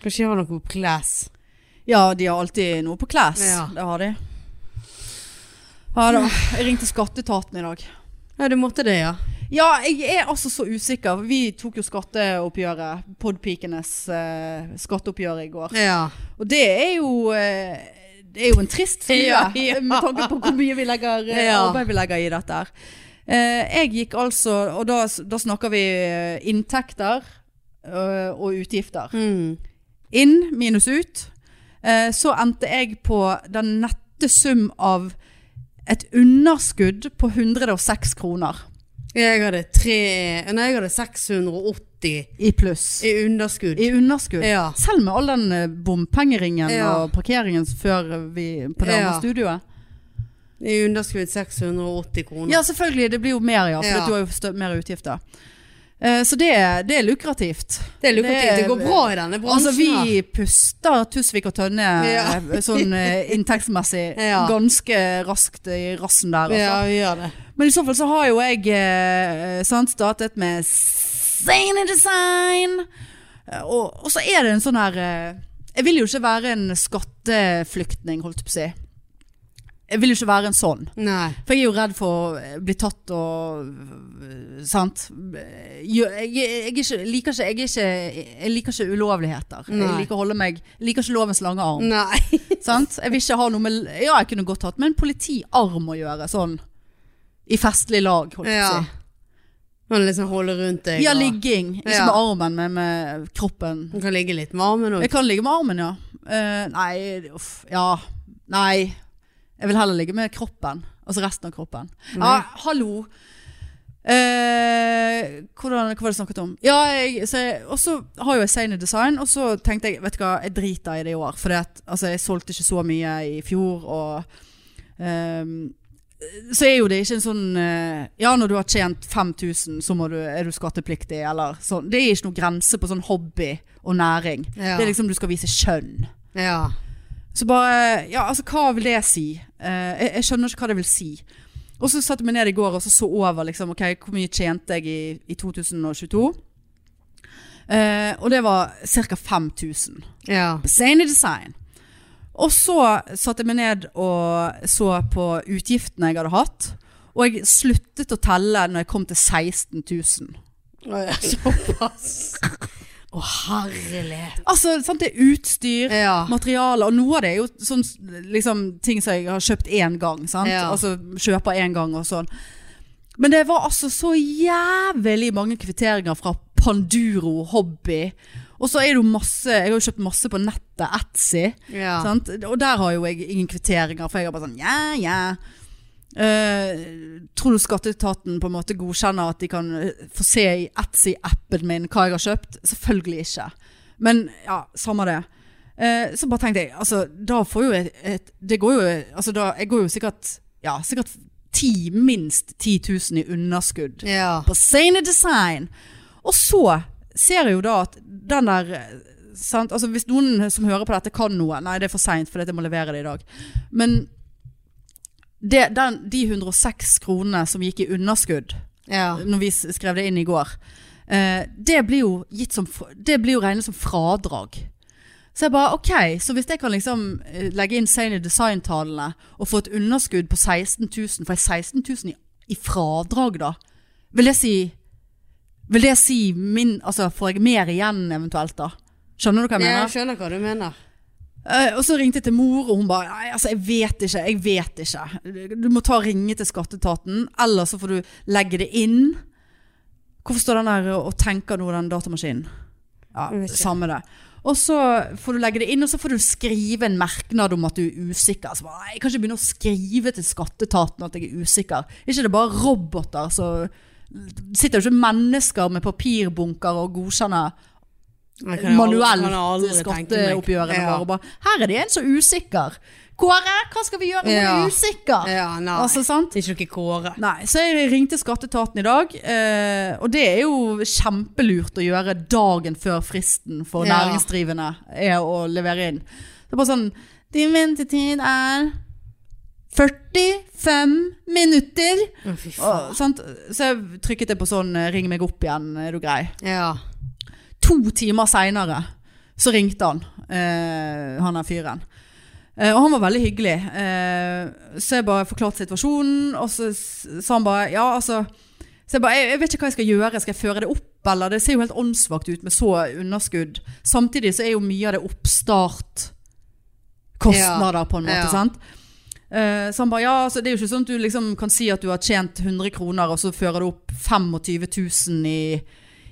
[SPEAKER 1] Kanskje jeg har noe på class.
[SPEAKER 2] Ja, de har alltid noe på class.
[SPEAKER 1] Ja.
[SPEAKER 2] Det har de. Ja da. Jeg ringte skatteetaten i dag.
[SPEAKER 1] Ja, du måtte det, ja.
[SPEAKER 2] Ja, jeg er altså så usikker. Vi tok jo skatteoppgjøret. Podpikenes eh, skatteoppgjør i går.
[SPEAKER 1] Ja.
[SPEAKER 2] Og det er jo eh, Det er jo en trist side
[SPEAKER 1] Ja, ja.
[SPEAKER 2] med tanke på hvor mye vi legger, eh,
[SPEAKER 1] Ja.
[SPEAKER 2] arbeid vi legger i dette. her. Eh, jeg gikk altså Og da, da snakker vi eh, inntekter eh, og utgifter.
[SPEAKER 1] Mm.
[SPEAKER 2] Inn minus ut. Eh, så endte jeg på den nette sum av et underskudd på 106 kroner
[SPEAKER 1] Jeg hadde tre Nei, jeg hadde 680
[SPEAKER 2] i pluss.
[SPEAKER 1] i underskudd.
[SPEAKER 2] I underskudd.
[SPEAKER 1] Ja.
[SPEAKER 2] Selv med all den eh, bompengeringen
[SPEAKER 1] Ja.
[SPEAKER 2] og parkeringen før vi på det andre
[SPEAKER 1] Ja.
[SPEAKER 2] studioet.
[SPEAKER 1] I underskudd 680 kroner.
[SPEAKER 2] Ja, selvfølgelig. Det blir jo mer, ja. For
[SPEAKER 1] Ja.
[SPEAKER 2] du har jo stø- mer utgifter. Eh, så det, det er lukrativt.
[SPEAKER 1] Det er lukrativt. Det går bra i denne bransjen.
[SPEAKER 2] Altså, vi puster Tusvik og Tønne
[SPEAKER 1] Ja.
[SPEAKER 2] eh, sånn eh, inntektsmessig
[SPEAKER 1] Ja.
[SPEAKER 2] ganske raskt i rassen der.
[SPEAKER 1] her.
[SPEAKER 2] Altså.
[SPEAKER 1] Ja, vi gjør det.
[SPEAKER 2] Men i så fall så har jo jeg eh, sant, startet med Sane Design. Eh, Og, og så er det en sånn her eh, Jeg vil jo ikke være en skatteflyktning, holdt jeg på å si. Jeg vil jo ikke være en sånn.
[SPEAKER 1] Nei.
[SPEAKER 2] For jeg er jo redd for å eh, bli tatt og eh, Sant? Eh, gjø- Jeg, jeg, er ikke, liker ikke, jeg, er ikke, jeg liker ikke ulovligheter.
[SPEAKER 1] Nei. Mm.
[SPEAKER 2] Jeg liker å holde meg jeg liker ikke lovens lange arm.
[SPEAKER 1] Nei.
[SPEAKER 2] Sant? Jeg vil ikke ha noe med Ja, jeg kunne godt hatt med en politiarm å gjøre, sånn. I festlig lag, holdt jeg
[SPEAKER 1] Ja.
[SPEAKER 2] på å si.
[SPEAKER 1] Man liksom holder rundt deg.
[SPEAKER 2] Ja,
[SPEAKER 1] og-
[SPEAKER 2] ligging. Ikke
[SPEAKER 1] Ja.
[SPEAKER 2] med armen, men med kroppen.
[SPEAKER 1] Man kan ligge litt med armen òg.
[SPEAKER 2] Jeg kan ligge med armen, ja. Eh, nei, uff. Ja. Nei. Jeg vil heller ligge med kroppen. Altså resten av kroppen. Ja, hallo. Eh, hvordan, hva var det snakket om? Ja, jeg, så jeg, og så har jo jeg Sane Design, og så tenkte jeg Vet du hva, jeg driter i det i år. For altså, jeg solgte ikke så mye i fjor, og ehm, så er jo det ikke en sånn eh, Ja, når du har tjent 5000, så må du, er du skattepliktig, eller sånn. Det er ikke noen grense på sånn hobby og næring.
[SPEAKER 1] Ja.
[SPEAKER 2] Det er liksom du skal vise kjønn.
[SPEAKER 1] Ja.
[SPEAKER 2] Så bare Ja, altså, hva vil det si? Eh, jeg, jeg skjønner ikke hva det vil si. Og så satte jeg meg ned i går og så, så over liksom, ok, hvor mye tjente jeg i, i 2022. Eh, og det var ca. 5000.
[SPEAKER 1] Ja.
[SPEAKER 2] Sane design. Og så satte jeg meg ned og så på utgiftene jeg hadde hatt. Og jeg sluttet å telle når jeg kom til 16 000.
[SPEAKER 1] Såpass. Å, herlighet.
[SPEAKER 2] Altså, sant, det er utstyr,
[SPEAKER 1] Ja.
[SPEAKER 2] materiale, og noe av det er jo sånn, liksom, ting som jeg har kjøpt én gang. Sant?
[SPEAKER 1] Ja.
[SPEAKER 2] Altså kjøper én gang og sånn. Men det var altså så jævlig mange kvitteringer fra Panduro Hobby. Og så er det jo masse Jeg har jo kjøpt masse på nettet, Etsy.
[SPEAKER 1] Ja.
[SPEAKER 2] Sant? Og der har jo jeg ingen kvitteringer, for jeg har bare sånn ja, ja. Eh, tror du skatteetaten på en måte godkjenner at de kan eh, få se i Etsy-appen min hva jeg har kjøpt? Selvfølgelig ikke. Men ja, samme det. Eh, så bare tenkte jeg, altså da får jo et, et Det går jo altså, da, Jeg går jo sikkert Ja, sikkert ti, minst 10 000 i underskudd
[SPEAKER 1] Ja.
[SPEAKER 2] på Sane Design. Og så ser jeg jo da at den der eh, sant? Altså Hvis noen som hører på dette kan noe Nei, det er for seint, for jeg må levere det i dag. Men det, den, de 106 kronene som gikk i underskudd
[SPEAKER 1] Ja.
[SPEAKER 2] når vi s- skrev det inn i går, eh, det blir jo, gitt som, fr- det blir jo regnet som fradrag. Så jeg bare, ok, så hvis jeg kan liksom eh, legge inn sane design-tallene og få et underskudd på 16 000, for jeg 16 000 i, i fradrag da, vil det si, vil det si min, altså får jeg mer igjen eventuelt da? Skjønner du hva jeg mener?
[SPEAKER 1] Jeg skjønner hva du mener.
[SPEAKER 2] Eh, og så ringte jeg til mor, og hun bare Nei, altså, jeg vet ikke. Jeg vet ikke. Du må ta og ringe til skatteetaten, eller så får du legge det inn. Hvorfor står den der og tenker noe, den datamaskinen? Ja,
[SPEAKER 1] Jeg vet ikke.
[SPEAKER 2] samme det. Og så får du legge det inn, og så får du skrive en merknad om at du er usikker. Så bare, nei, jeg kan ikke begynne å skrive til skatteetaten at jeg er usikker. Er ikke det bare roboter som Sitter jo ikke mennesker med papirbunker og godkjenner
[SPEAKER 1] Jeg kan aldri- kan jeg aldri
[SPEAKER 2] manuelt
[SPEAKER 1] tenke meg.
[SPEAKER 2] skatteoppgjørene
[SPEAKER 1] Ja.
[SPEAKER 2] våre. Bare, her er det en som er usikker. Kåre, hva skal vi gjøre når du
[SPEAKER 1] Ja.
[SPEAKER 2] er usikker?
[SPEAKER 1] Ja, nei.
[SPEAKER 2] Altså, sant?
[SPEAKER 1] det er ikke noe Kåre.
[SPEAKER 2] Nei, så jeg ringte skatteetaten i dag, eh, og det er jo kjempelurt å gjøre dagen før fristen for
[SPEAKER 1] Ja.
[SPEAKER 2] næringsdrivende er å levere inn. Det er bare sånn Din ventetid er 45 minutter.
[SPEAKER 1] Å, fy faen.
[SPEAKER 2] Og, sant? Så jeg trykket det på sånn eh, ring meg opp igjen, er du grei?
[SPEAKER 1] Ja.
[SPEAKER 2] To timer seinere så ringte han, eh, han der fyren. Eh, og han var veldig hyggelig. Eh, så jeg bare forklarte situasjonen, og så s- sa han bare Ja, altså så jeg, bare, jeg, jeg vet ikke hva jeg skal gjøre. Skal jeg føre det opp, eller? Det ser jo helt åndssvakt ut med så underskudd. Samtidig så er jo mye av det oppstartkostnader, på en måte.
[SPEAKER 1] Ja.
[SPEAKER 2] sant? Eh, så han bare ja, altså, det er jo ikke sånn at du liksom kan si at du har tjent 100 kroner, og så fører du opp 25 000 i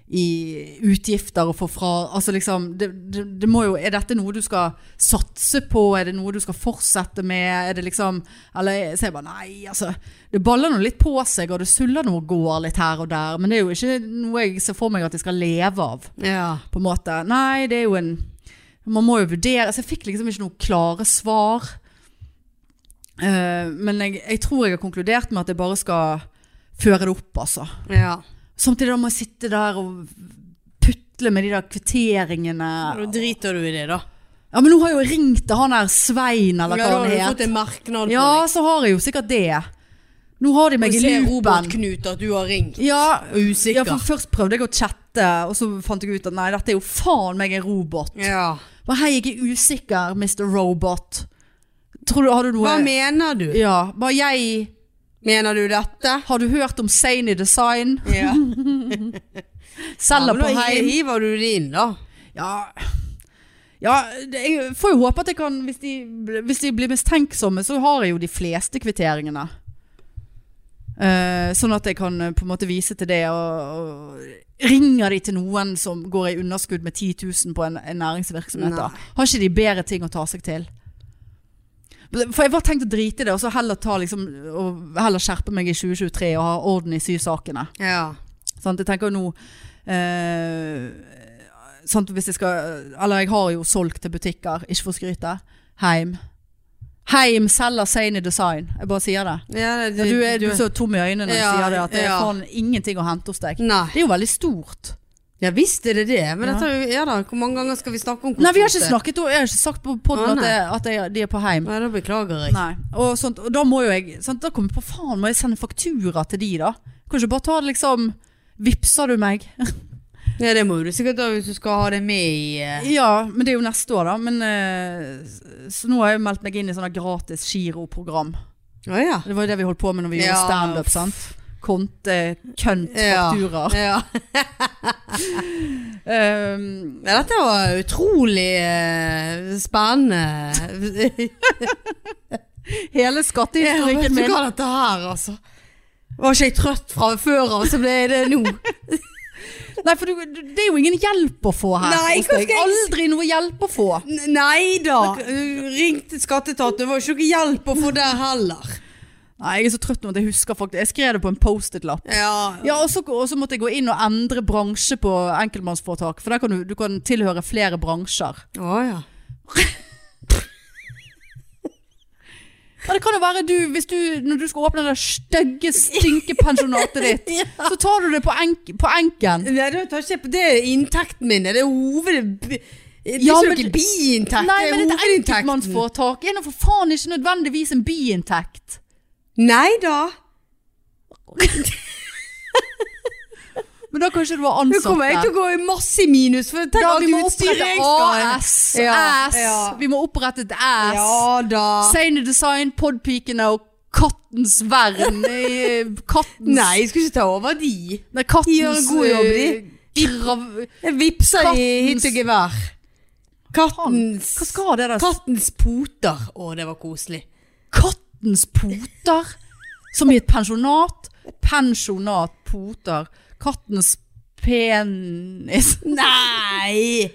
[SPEAKER 2] i utgifter og få fra Altså liksom, det, det, det må jo Er dette noe du skal satse på? Er det noe du skal fortsette med? Er det liksom Eller så jeg bare nei, altså. Det baller nå litt på seg, og det suller nå og går litt her og der, men det er jo ikke noe jeg ser for meg at jeg skal leve av
[SPEAKER 1] Ja.
[SPEAKER 2] på en måte. Nei, det er jo en Man må jo vurdere. Så jeg fikk liksom ikke noen klare svar. Eh, men jeg, jeg tror jeg har konkludert med at jeg bare skal føre det opp, altså.
[SPEAKER 1] Ja.
[SPEAKER 2] Samtidig da må jeg sitte der og putle med de der kvitteringene.
[SPEAKER 1] Da driter du i det, da.
[SPEAKER 2] Ja, men nå har jeg jo ringt til han der Svein, eller
[SPEAKER 1] ja, da
[SPEAKER 2] hva
[SPEAKER 1] har du
[SPEAKER 2] han
[SPEAKER 1] fått
[SPEAKER 2] het.
[SPEAKER 1] en merknad
[SPEAKER 2] Ja,
[SPEAKER 1] på deg.
[SPEAKER 2] så har jeg jo sikkert det. Nå har de meg
[SPEAKER 1] Og
[SPEAKER 2] i
[SPEAKER 1] ser Robert
[SPEAKER 2] loopen.
[SPEAKER 1] Knut at du har ringt.
[SPEAKER 2] Ja,
[SPEAKER 1] Usikker.
[SPEAKER 2] ja, for først prøvde jeg å chatte, og så fant jeg ut at nei, dette er jo faen meg en robot.
[SPEAKER 1] Ja.
[SPEAKER 2] Bare hei, jeg er usikker, Mr. Robot. Tror du, har du noe
[SPEAKER 1] Hva mener du?
[SPEAKER 2] Ja, bare jeg
[SPEAKER 1] Mener du dette?
[SPEAKER 2] Har du hørt om Sane Design?
[SPEAKER 1] Ja.
[SPEAKER 2] Selger
[SPEAKER 1] men
[SPEAKER 2] på
[SPEAKER 1] da
[SPEAKER 2] heim?
[SPEAKER 1] hiver du det inn, da.
[SPEAKER 2] Ja, ja det, jeg får jo håpe at jeg kan hvis de, hvis de blir mistenksomme, så har jeg jo de fleste kvitteringene. Eh, sånn at jeg kan eh, på en måte vise til det. Og, og ringer de til noen som går i underskudd med 10 000 på en, en næringsvirksomhet, da?
[SPEAKER 1] Nei.
[SPEAKER 2] Har ikke de bedre ting å ta seg til? For jeg var tenkt å drite i det, og så heller, ta, liksom, og heller skjerpe meg i 2023 og ha orden i sysakene.
[SPEAKER 1] Ja.
[SPEAKER 2] Sant? Jeg tenker jo nå eh, sant? Hvis jeg skal Eller jeg har jo solgt til butikker, ikke for å skryte. Heim. Heim selger Sane Design. Jeg bare sier det.
[SPEAKER 1] Ja, det-
[SPEAKER 2] Du er, du er så tom i øynene når
[SPEAKER 1] Ja,
[SPEAKER 2] du sier det, at det er
[SPEAKER 1] ja.
[SPEAKER 2] faen ingenting å hente hos deg.
[SPEAKER 1] Nei.
[SPEAKER 2] Det er jo veldig stort.
[SPEAKER 1] Ja visst er det det, men
[SPEAKER 2] Ja.
[SPEAKER 1] dette er jo Ja da, hvor mange ganger skal vi snakke om
[SPEAKER 2] Nei, vi har
[SPEAKER 1] kontortet?
[SPEAKER 2] ikke snakket om Jeg har ikke sagt på podden
[SPEAKER 1] Å,
[SPEAKER 2] at,
[SPEAKER 1] nei.
[SPEAKER 2] jeg, at jeg, de er på heim.
[SPEAKER 1] Nei, da beklager jeg.
[SPEAKER 2] Nei. Og, sånt, og da må jo jeg sant, Da kommer jeg på faen, må jeg sende faktura til de, da? Kan ikke bare ta det liksom Vipser du meg?
[SPEAKER 1] Ja, det må du sikkert da hvis du skal ha det med i eh,
[SPEAKER 2] Ja, men det er jo neste år, da. Men, eh, s- så nå har jeg jo meldt meg inn i sånne gratis giroprogram.
[SPEAKER 1] Å ja.
[SPEAKER 2] Det var jo det vi holdt på med når vi gjorde
[SPEAKER 1] Ja.
[SPEAKER 2] standup, sant. Konte, kønt,
[SPEAKER 1] Ja.
[SPEAKER 2] fakturaer.
[SPEAKER 1] ja.
[SPEAKER 2] Um,
[SPEAKER 1] Ja, dette var utrolig eh, spennende.
[SPEAKER 2] hele skattehistorikken min.
[SPEAKER 1] hva dette her, altså. Var ikke jeg trøtt fra før av, så ble jeg det nå.
[SPEAKER 2] Nei, for du, du, det er jo ingen hjelp å få her.
[SPEAKER 1] Nei,
[SPEAKER 2] hos
[SPEAKER 1] hva skal
[SPEAKER 2] deg.
[SPEAKER 1] jeg s-
[SPEAKER 2] Aldri noe hjelp å få.
[SPEAKER 1] N- Nei da. Du Ringte skatteetaten, det var jo ikke noe hjelp å få der heller.
[SPEAKER 2] Nei, jeg er så trøtt nå at jeg husker faktisk Jeg skrev det på en Post-It-lapp.
[SPEAKER 1] Ja.
[SPEAKER 2] Ja, og så, og så måtte jeg gå inn og endre bransje på enkeltmannsforetak. For der kan du, du kan tilhøre flere bransjer.
[SPEAKER 1] Å ja.
[SPEAKER 2] Ja, det kan jo være du, hvis du, når du skal åpne det stygge stinkepensjonatet ditt, så tar du det på, enk på enken.
[SPEAKER 1] Nei, det tar ikke på det er inntekten min. Det er hoved... Det er
[SPEAKER 2] Ja,
[SPEAKER 1] ikke
[SPEAKER 2] men-
[SPEAKER 1] noe biinntekt,
[SPEAKER 2] Nei,
[SPEAKER 1] det er
[SPEAKER 2] men et
[SPEAKER 1] hovedinntekten.
[SPEAKER 2] enkeltmannsforetak er nå for faen ikke nødvendigvis en biinntekt.
[SPEAKER 1] Nei da.
[SPEAKER 2] Men da kan ikke du ha
[SPEAKER 1] Nå kommer jeg
[SPEAKER 2] ansatte.
[SPEAKER 1] til å gå i masse minus, for tenk
[SPEAKER 2] Da,
[SPEAKER 1] alt
[SPEAKER 2] vi må
[SPEAKER 1] utstyret
[SPEAKER 2] opprette
[SPEAKER 1] jeg skal ha.
[SPEAKER 2] AS.
[SPEAKER 1] Ja,
[SPEAKER 2] S.
[SPEAKER 1] ja.
[SPEAKER 2] Vi må opprette et S.
[SPEAKER 1] Ja da.
[SPEAKER 2] Seine Design, Podpikene og Kattens Vern. eh, Kattens
[SPEAKER 1] Nei, jeg skulle ikke ta over de.
[SPEAKER 2] Nei, kattens,
[SPEAKER 1] De gjør en god jobb, de.
[SPEAKER 2] eh, krav-
[SPEAKER 1] Jeg vipser i
[SPEAKER 2] Kattens-
[SPEAKER 1] hit og gevær. Kattens
[SPEAKER 2] Hva skal det der?
[SPEAKER 1] Kattens poter. Å, det var koselig.
[SPEAKER 2] Kattens poter? Som i et pensjonat? Pensjonat, poter. Kattens penis.
[SPEAKER 1] Nei!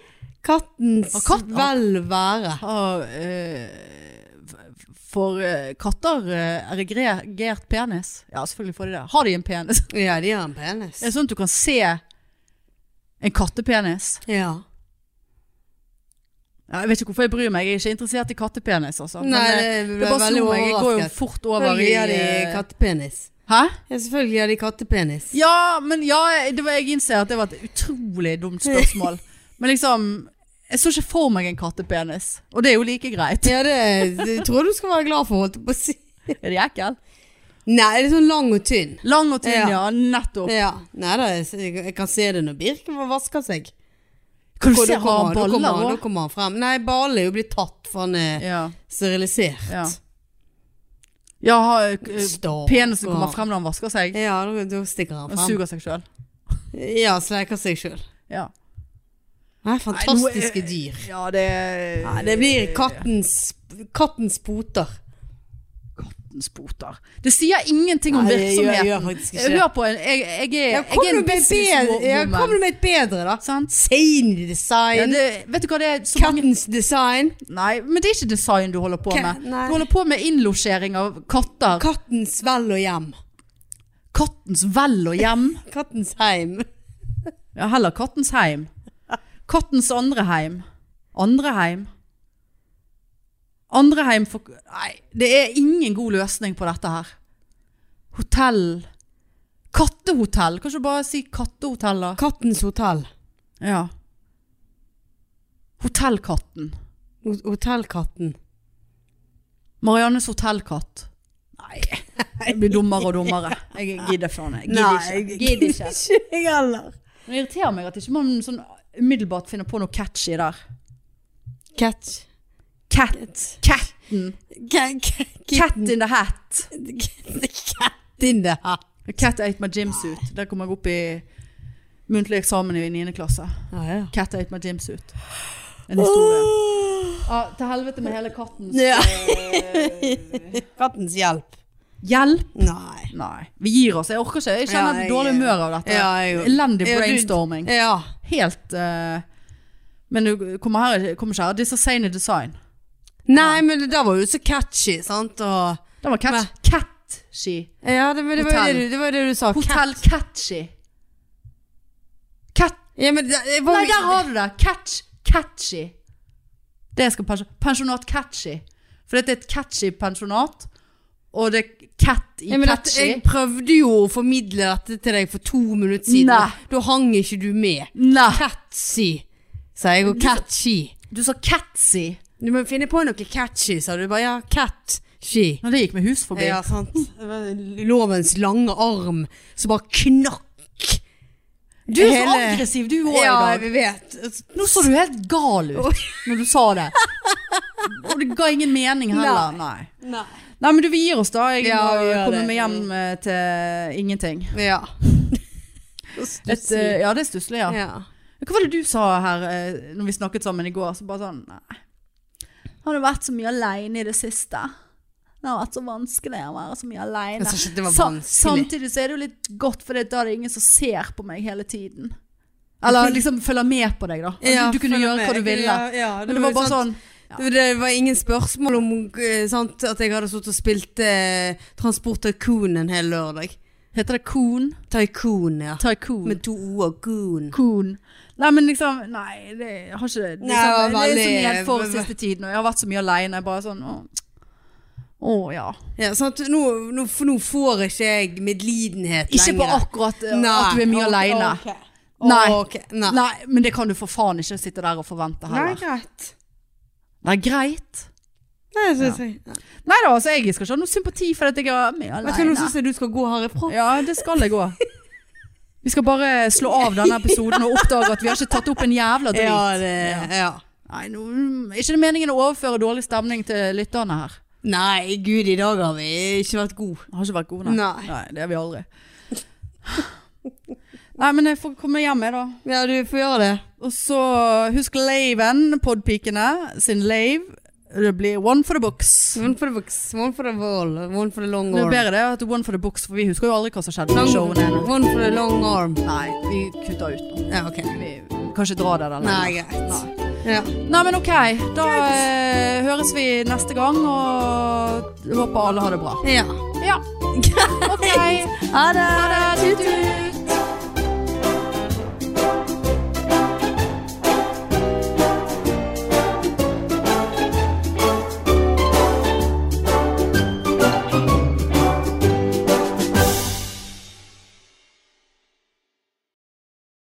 [SPEAKER 1] Kattens
[SPEAKER 2] Og katten-
[SPEAKER 1] velvære.
[SPEAKER 2] Ah, eh, f- for eh, katter eh, er erigert penis. Ja, selvfølgelig får de det. Har de en penis?
[SPEAKER 1] Ja, de har en penis.
[SPEAKER 2] Er det sånn at du kan se en kattepenis?
[SPEAKER 1] Ja.
[SPEAKER 2] Ja, Jeg vet ikke hvorfor jeg bryr meg. Jeg er ikke interessert i kattepenis, altså. Men,
[SPEAKER 1] Nei,
[SPEAKER 2] eh,
[SPEAKER 1] det
[SPEAKER 2] det
[SPEAKER 1] ble
[SPEAKER 2] bare
[SPEAKER 1] veldig
[SPEAKER 2] slo meg. Jeg går jo
[SPEAKER 1] overrasket.
[SPEAKER 2] fort over i
[SPEAKER 1] Selvfølgelig har de
[SPEAKER 2] eh,
[SPEAKER 1] kattepenis.
[SPEAKER 2] Hæ?
[SPEAKER 1] Ja, selvfølgelig har de kattepenis.
[SPEAKER 2] Ja, men ja, det var, jeg innser at det var et utrolig dumt spørsmål. Men liksom, jeg så ikke for meg en kattepenis. Og det er jo like greit.
[SPEAKER 1] Ja, det, det tror jeg du skal være glad for, holdt jeg på å si.
[SPEAKER 2] Er det ekkel?
[SPEAKER 1] Nei, det er sånn lang og tynn.
[SPEAKER 2] Lang og tynn, ja.
[SPEAKER 1] Ja.
[SPEAKER 2] Nettopp.
[SPEAKER 1] Ja. Nei da, jeg- jeg kan se det når Birken vasker seg.
[SPEAKER 2] Kan du
[SPEAKER 1] Hvor
[SPEAKER 2] se
[SPEAKER 1] da
[SPEAKER 2] har
[SPEAKER 1] kommer-
[SPEAKER 2] han
[SPEAKER 1] da kommer
[SPEAKER 2] baller
[SPEAKER 1] han- Da
[SPEAKER 2] òg?
[SPEAKER 1] kommer han frem. Nei, ballen er jo blitt tatt, for han er
[SPEAKER 2] Ja.
[SPEAKER 1] sterilisert.
[SPEAKER 2] ja. ja har, eh,
[SPEAKER 1] Stakkar.
[SPEAKER 2] penisen kommer frem når han vasker seg.
[SPEAKER 1] Ja, da, da stikker han
[SPEAKER 2] Og
[SPEAKER 1] frem.
[SPEAKER 2] suger seg sjøl.
[SPEAKER 1] Ja, sleiker seg sjøl.
[SPEAKER 2] Ja.
[SPEAKER 1] Nei, fantastiske
[SPEAKER 2] Nei, nå er-
[SPEAKER 1] dyr.
[SPEAKER 2] ja, det
[SPEAKER 1] Nei, det blir kattens, kattens poter.
[SPEAKER 2] Kattens poter. Det sier ingenting om
[SPEAKER 1] Nei, det gjør-
[SPEAKER 2] virksomheten.
[SPEAKER 1] gjør faktisk ikke.
[SPEAKER 2] Hør på en Jeg, jeg er,
[SPEAKER 1] Ja,
[SPEAKER 2] jeg
[SPEAKER 1] kom
[SPEAKER 2] er
[SPEAKER 1] du
[SPEAKER 2] en
[SPEAKER 1] med et bedre, ja, kom du
[SPEAKER 2] businesswoman.
[SPEAKER 1] med et bedre da?
[SPEAKER 2] Sant?
[SPEAKER 1] Sane
[SPEAKER 2] Ja,
[SPEAKER 1] design.
[SPEAKER 2] det, vet du hva det er? Så mange,
[SPEAKER 1] Kattens design.
[SPEAKER 2] nei, men det er ikke design du holder på
[SPEAKER 1] Ka-
[SPEAKER 2] med.
[SPEAKER 1] nei.
[SPEAKER 2] Du holder på med innlosjering av katter.
[SPEAKER 1] Kattens vel og hjem.
[SPEAKER 2] Kattens vel og hjem.
[SPEAKER 1] Kattens heim.
[SPEAKER 2] Ja, heller kattens heim. Kattens andre heim. Andre heim. Andre heim for Nei, det er ingen god løsning på dette her. Hotell. Kattehotell. Kan ikke du bare si kattehotell, da?
[SPEAKER 1] Kattens hotell.
[SPEAKER 2] Ja. Hotellkatten.
[SPEAKER 1] Ho- Hotellkatten.
[SPEAKER 2] Mariannes hotellkatt. Nei, jeg blir dummere og dummere. Jeg gidder faen jeg gidder ikke. Gidder ikke.
[SPEAKER 1] jeg heller.
[SPEAKER 2] Men Det irriterer meg at ikke man sånn umiddelbart finner på noe catchy der.
[SPEAKER 1] Catch.
[SPEAKER 2] Cat,
[SPEAKER 1] Cat.
[SPEAKER 2] catten,
[SPEAKER 1] Ca- ca-
[SPEAKER 2] cat
[SPEAKER 1] Kitten.
[SPEAKER 2] in the hat.
[SPEAKER 1] Cat in the hat.
[SPEAKER 2] Cat ate my gymsuit. Der kom jeg opp i muntlig eksamen i 9. klasse.
[SPEAKER 1] Ja, ja.
[SPEAKER 2] Cat ate my gymsuit. En historie. Ja, til helvete med hele kattens
[SPEAKER 1] Ja.
[SPEAKER 2] eh,
[SPEAKER 1] Kattens hjelp.
[SPEAKER 2] Hjelp!
[SPEAKER 1] Nei.
[SPEAKER 2] Nei, vi gir oss. Jeg orker ikke. Jeg kjenner
[SPEAKER 1] Ja, jeg-
[SPEAKER 2] dårlig humør av dette.
[SPEAKER 1] Ja, jeg-
[SPEAKER 2] Elendig
[SPEAKER 1] Ja, du-
[SPEAKER 2] brainstorming.
[SPEAKER 1] Ja.
[SPEAKER 2] Helt eh, Men du kommer, her, kommer ikke her. Disse Sane Design.
[SPEAKER 1] Nei, men det der var jo så catchy, sant? Og,
[SPEAKER 2] Den var catch,
[SPEAKER 1] Men-
[SPEAKER 2] catchy.
[SPEAKER 1] ja, det, men det, var jo
[SPEAKER 2] Hotell.
[SPEAKER 1] det, du- det var jo det du sa. Cat.
[SPEAKER 2] Hotell Catchy. Cat
[SPEAKER 1] Ja, men det, det var,
[SPEAKER 2] Nei, der har du det! Catch Catchy. Det skal pensjon... Pensjonat Catchy. For dette er et catchy pensjonat, og det er cat i
[SPEAKER 1] Ja, men at
[SPEAKER 2] catchy.
[SPEAKER 1] jeg prøvde jo å formidle dette til deg for to minutter siden.
[SPEAKER 2] Nei.
[SPEAKER 1] Da hang ikke du med.
[SPEAKER 2] Nei,
[SPEAKER 1] Catsy, sa jeg, og catchy.
[SPEAKER 2] du sa catsy.
[SPEAKER 1] Du må finne på noe catchy, sa du. Bare ja, catchy.
[SPEAKER 2] Når det gikk med hus forbi.
[SPEAKER 1] Ja, sant. Det var Lovens lange arm som bare knakk.
[SPEAKER 2] Du er så
[SPEAKER 1] Hele-
[SPEAKER 2] aggressiv du òg
[SPEAKER 1] Ja,
[SPEAKER 2] i dag.
[SPEAKER 1] jeg vet.
[SPEAKER 2] Nå så du helt gal ut når du sa det. Og det ga ingen mening heller. Nei.
[SPEAKER 1] Nei.
[SPEAKER 2] Nei, men du, vi gir oss da. Jeg
[SPEAKER 1] Ja,
[SPEAKER 2] må
[SPEAKER 1] vi gjør
[SPEAKER 2] komme
[SPEAKER 1] det.
[SPEAKER 2] meg hjem eh, til ingenting.
[SPEAKER 1] Ja.
[SPEAKER 2] Et, eh, ja, det er stusslig, ja.
[SPEAKER 1] ja.
[SPEAKER 2] Hva var det du sa her eh, Når vi snakket sammen i går? Så bare sånn Nei. Har du vært så mye aleine i det siste? Det har vært så vanskelig å være så mye
[SPEAKER 1] Jeg
[SPEAKER 2] aleine.
[SPEAKER 1] sa ikke at det var
[SPEAKER 2] Sa-
[SPEAKER 1] vanskelig.
[SPEAKER 2] Samtidig så er det jo litt godt, for da er det ingen som ser på meg hele tiden. Eller liksom følger med på deg, da. Altså, du kunne
[SPEAKER 1] følg
[SPEAKER 2] gjøre
[SPEAKER 1] med.
[SPEAKER 2] hva du ville.
[SPEAKER 1] Ja, ja,
[SPEAKER 2] Men det var
[SPEAKER 1] jo
[SPEAKER 2] bare
[SPEAKER 1] sant.
[SPEAKER 2] sånn
[SPEAKER 1] Det- Det var ingen spørsmål om eh, sant, at jeg hadde stått og spilt eh, Transport Tycoon en hel lørdag.
[SPEAKER 2] Heter det Coon?
[SPEAKER 1] Tycoon, ja.
[SPEAKER 2] Tycoon.
[SPEAKER 1] Med to o-er. Coon.
[SPEAKER 2] Coon. Nei, men liksom Nei, det jeg har ikke liksom,
[SPEAKER 1] Nei, det var
[SPEAKER 2] Det er så
[SPEAKER 1] veldig-
[SPEAKER 2] mye helt for siste tiden, og jeg har vært så mye aleine. Bare sånn Å, å ja.
[SPEAKER 1] Ja, sant? Nå, nå, for nå får ikke jeg medlidenhet lenger.
[SPEAKER 2] Ikke på akkurat eh, at du er mye aleine.
[SPEAKER 1] Nei.
[SPEAKER 2] Nei.
[SPEAKER 1] Ok, Nei.
[SPEAKER 2] Nei, men det kan du for faen ikke sitte der og forvente heller.
[SPEAKER 1] greit.
[SPEAKER 2] Nei, greit.
[SPEAKER 1] Nei, jeg synes jeg. Ja.
[SPEAKER 2] Nei da, altså, jeg skal ikke ha noe sympati for at jeg er mye
[SPEAKER 1] Vet du hva, nå
[SPEAKER 2] aleine.
[SPEAKER 1] synes jeg du skal gå herifra.
[SPEAKER 2] Ja, det skal jeg òg. Vi skal bare slå av denne episoden og oppdage at vi har ikke tatt opp en jævla drit.
[SPEAKER 1] det, ja.
[SPEAKER 2] Nei, nå, er ikke det meningen å overføre dårlig stemning til lytterne her?
[SPEAKER 1] Nei, gud, i dag har vi ikke vært gode.
[SPEAKER 2] Jeg har ikke vært god, nei.
[SPEAKER 1] Nei.
[SPEAKER 2] det er vi aldri. nei, men jeg får komme hjem, jeg, da.
[SPEAKER 1] Ja, du får gjøre det.
[SPEAKER 2] Og så husk laven, podpikene sin lave. Det blir one for the books.
[SPEAKER 1] One for the books, one for the wall, one for the long
[SPEAKER 2] Det er
[SPEAKER 1] arm.
[SPEAKER 2] bedre det at one for the books, for vi husker jo aldri hva som skjedde på showene.
[SPEAKER 1] Long, one for the long arm.
[SPEAKER 2] Nei, vi kutter ut nå.
[SPEAKER 1] Ja, ok.
[SPEAKER 2] Vi kan ikke dra det der
[SPEAKER 1] Nei,
[SPEAKER 2] lenger.
[SPEAKER 1] greit.
[SPEAKER 2] Nei.
[SPEAKER 1] Ja.
[SPEAKER 2] Nei, men ok. Da eh, høres vi neste gang, og håper alle har det bra.
[SPEAKER 1] ja.
[SPEAKER 2] Ja. Ok. Ha det.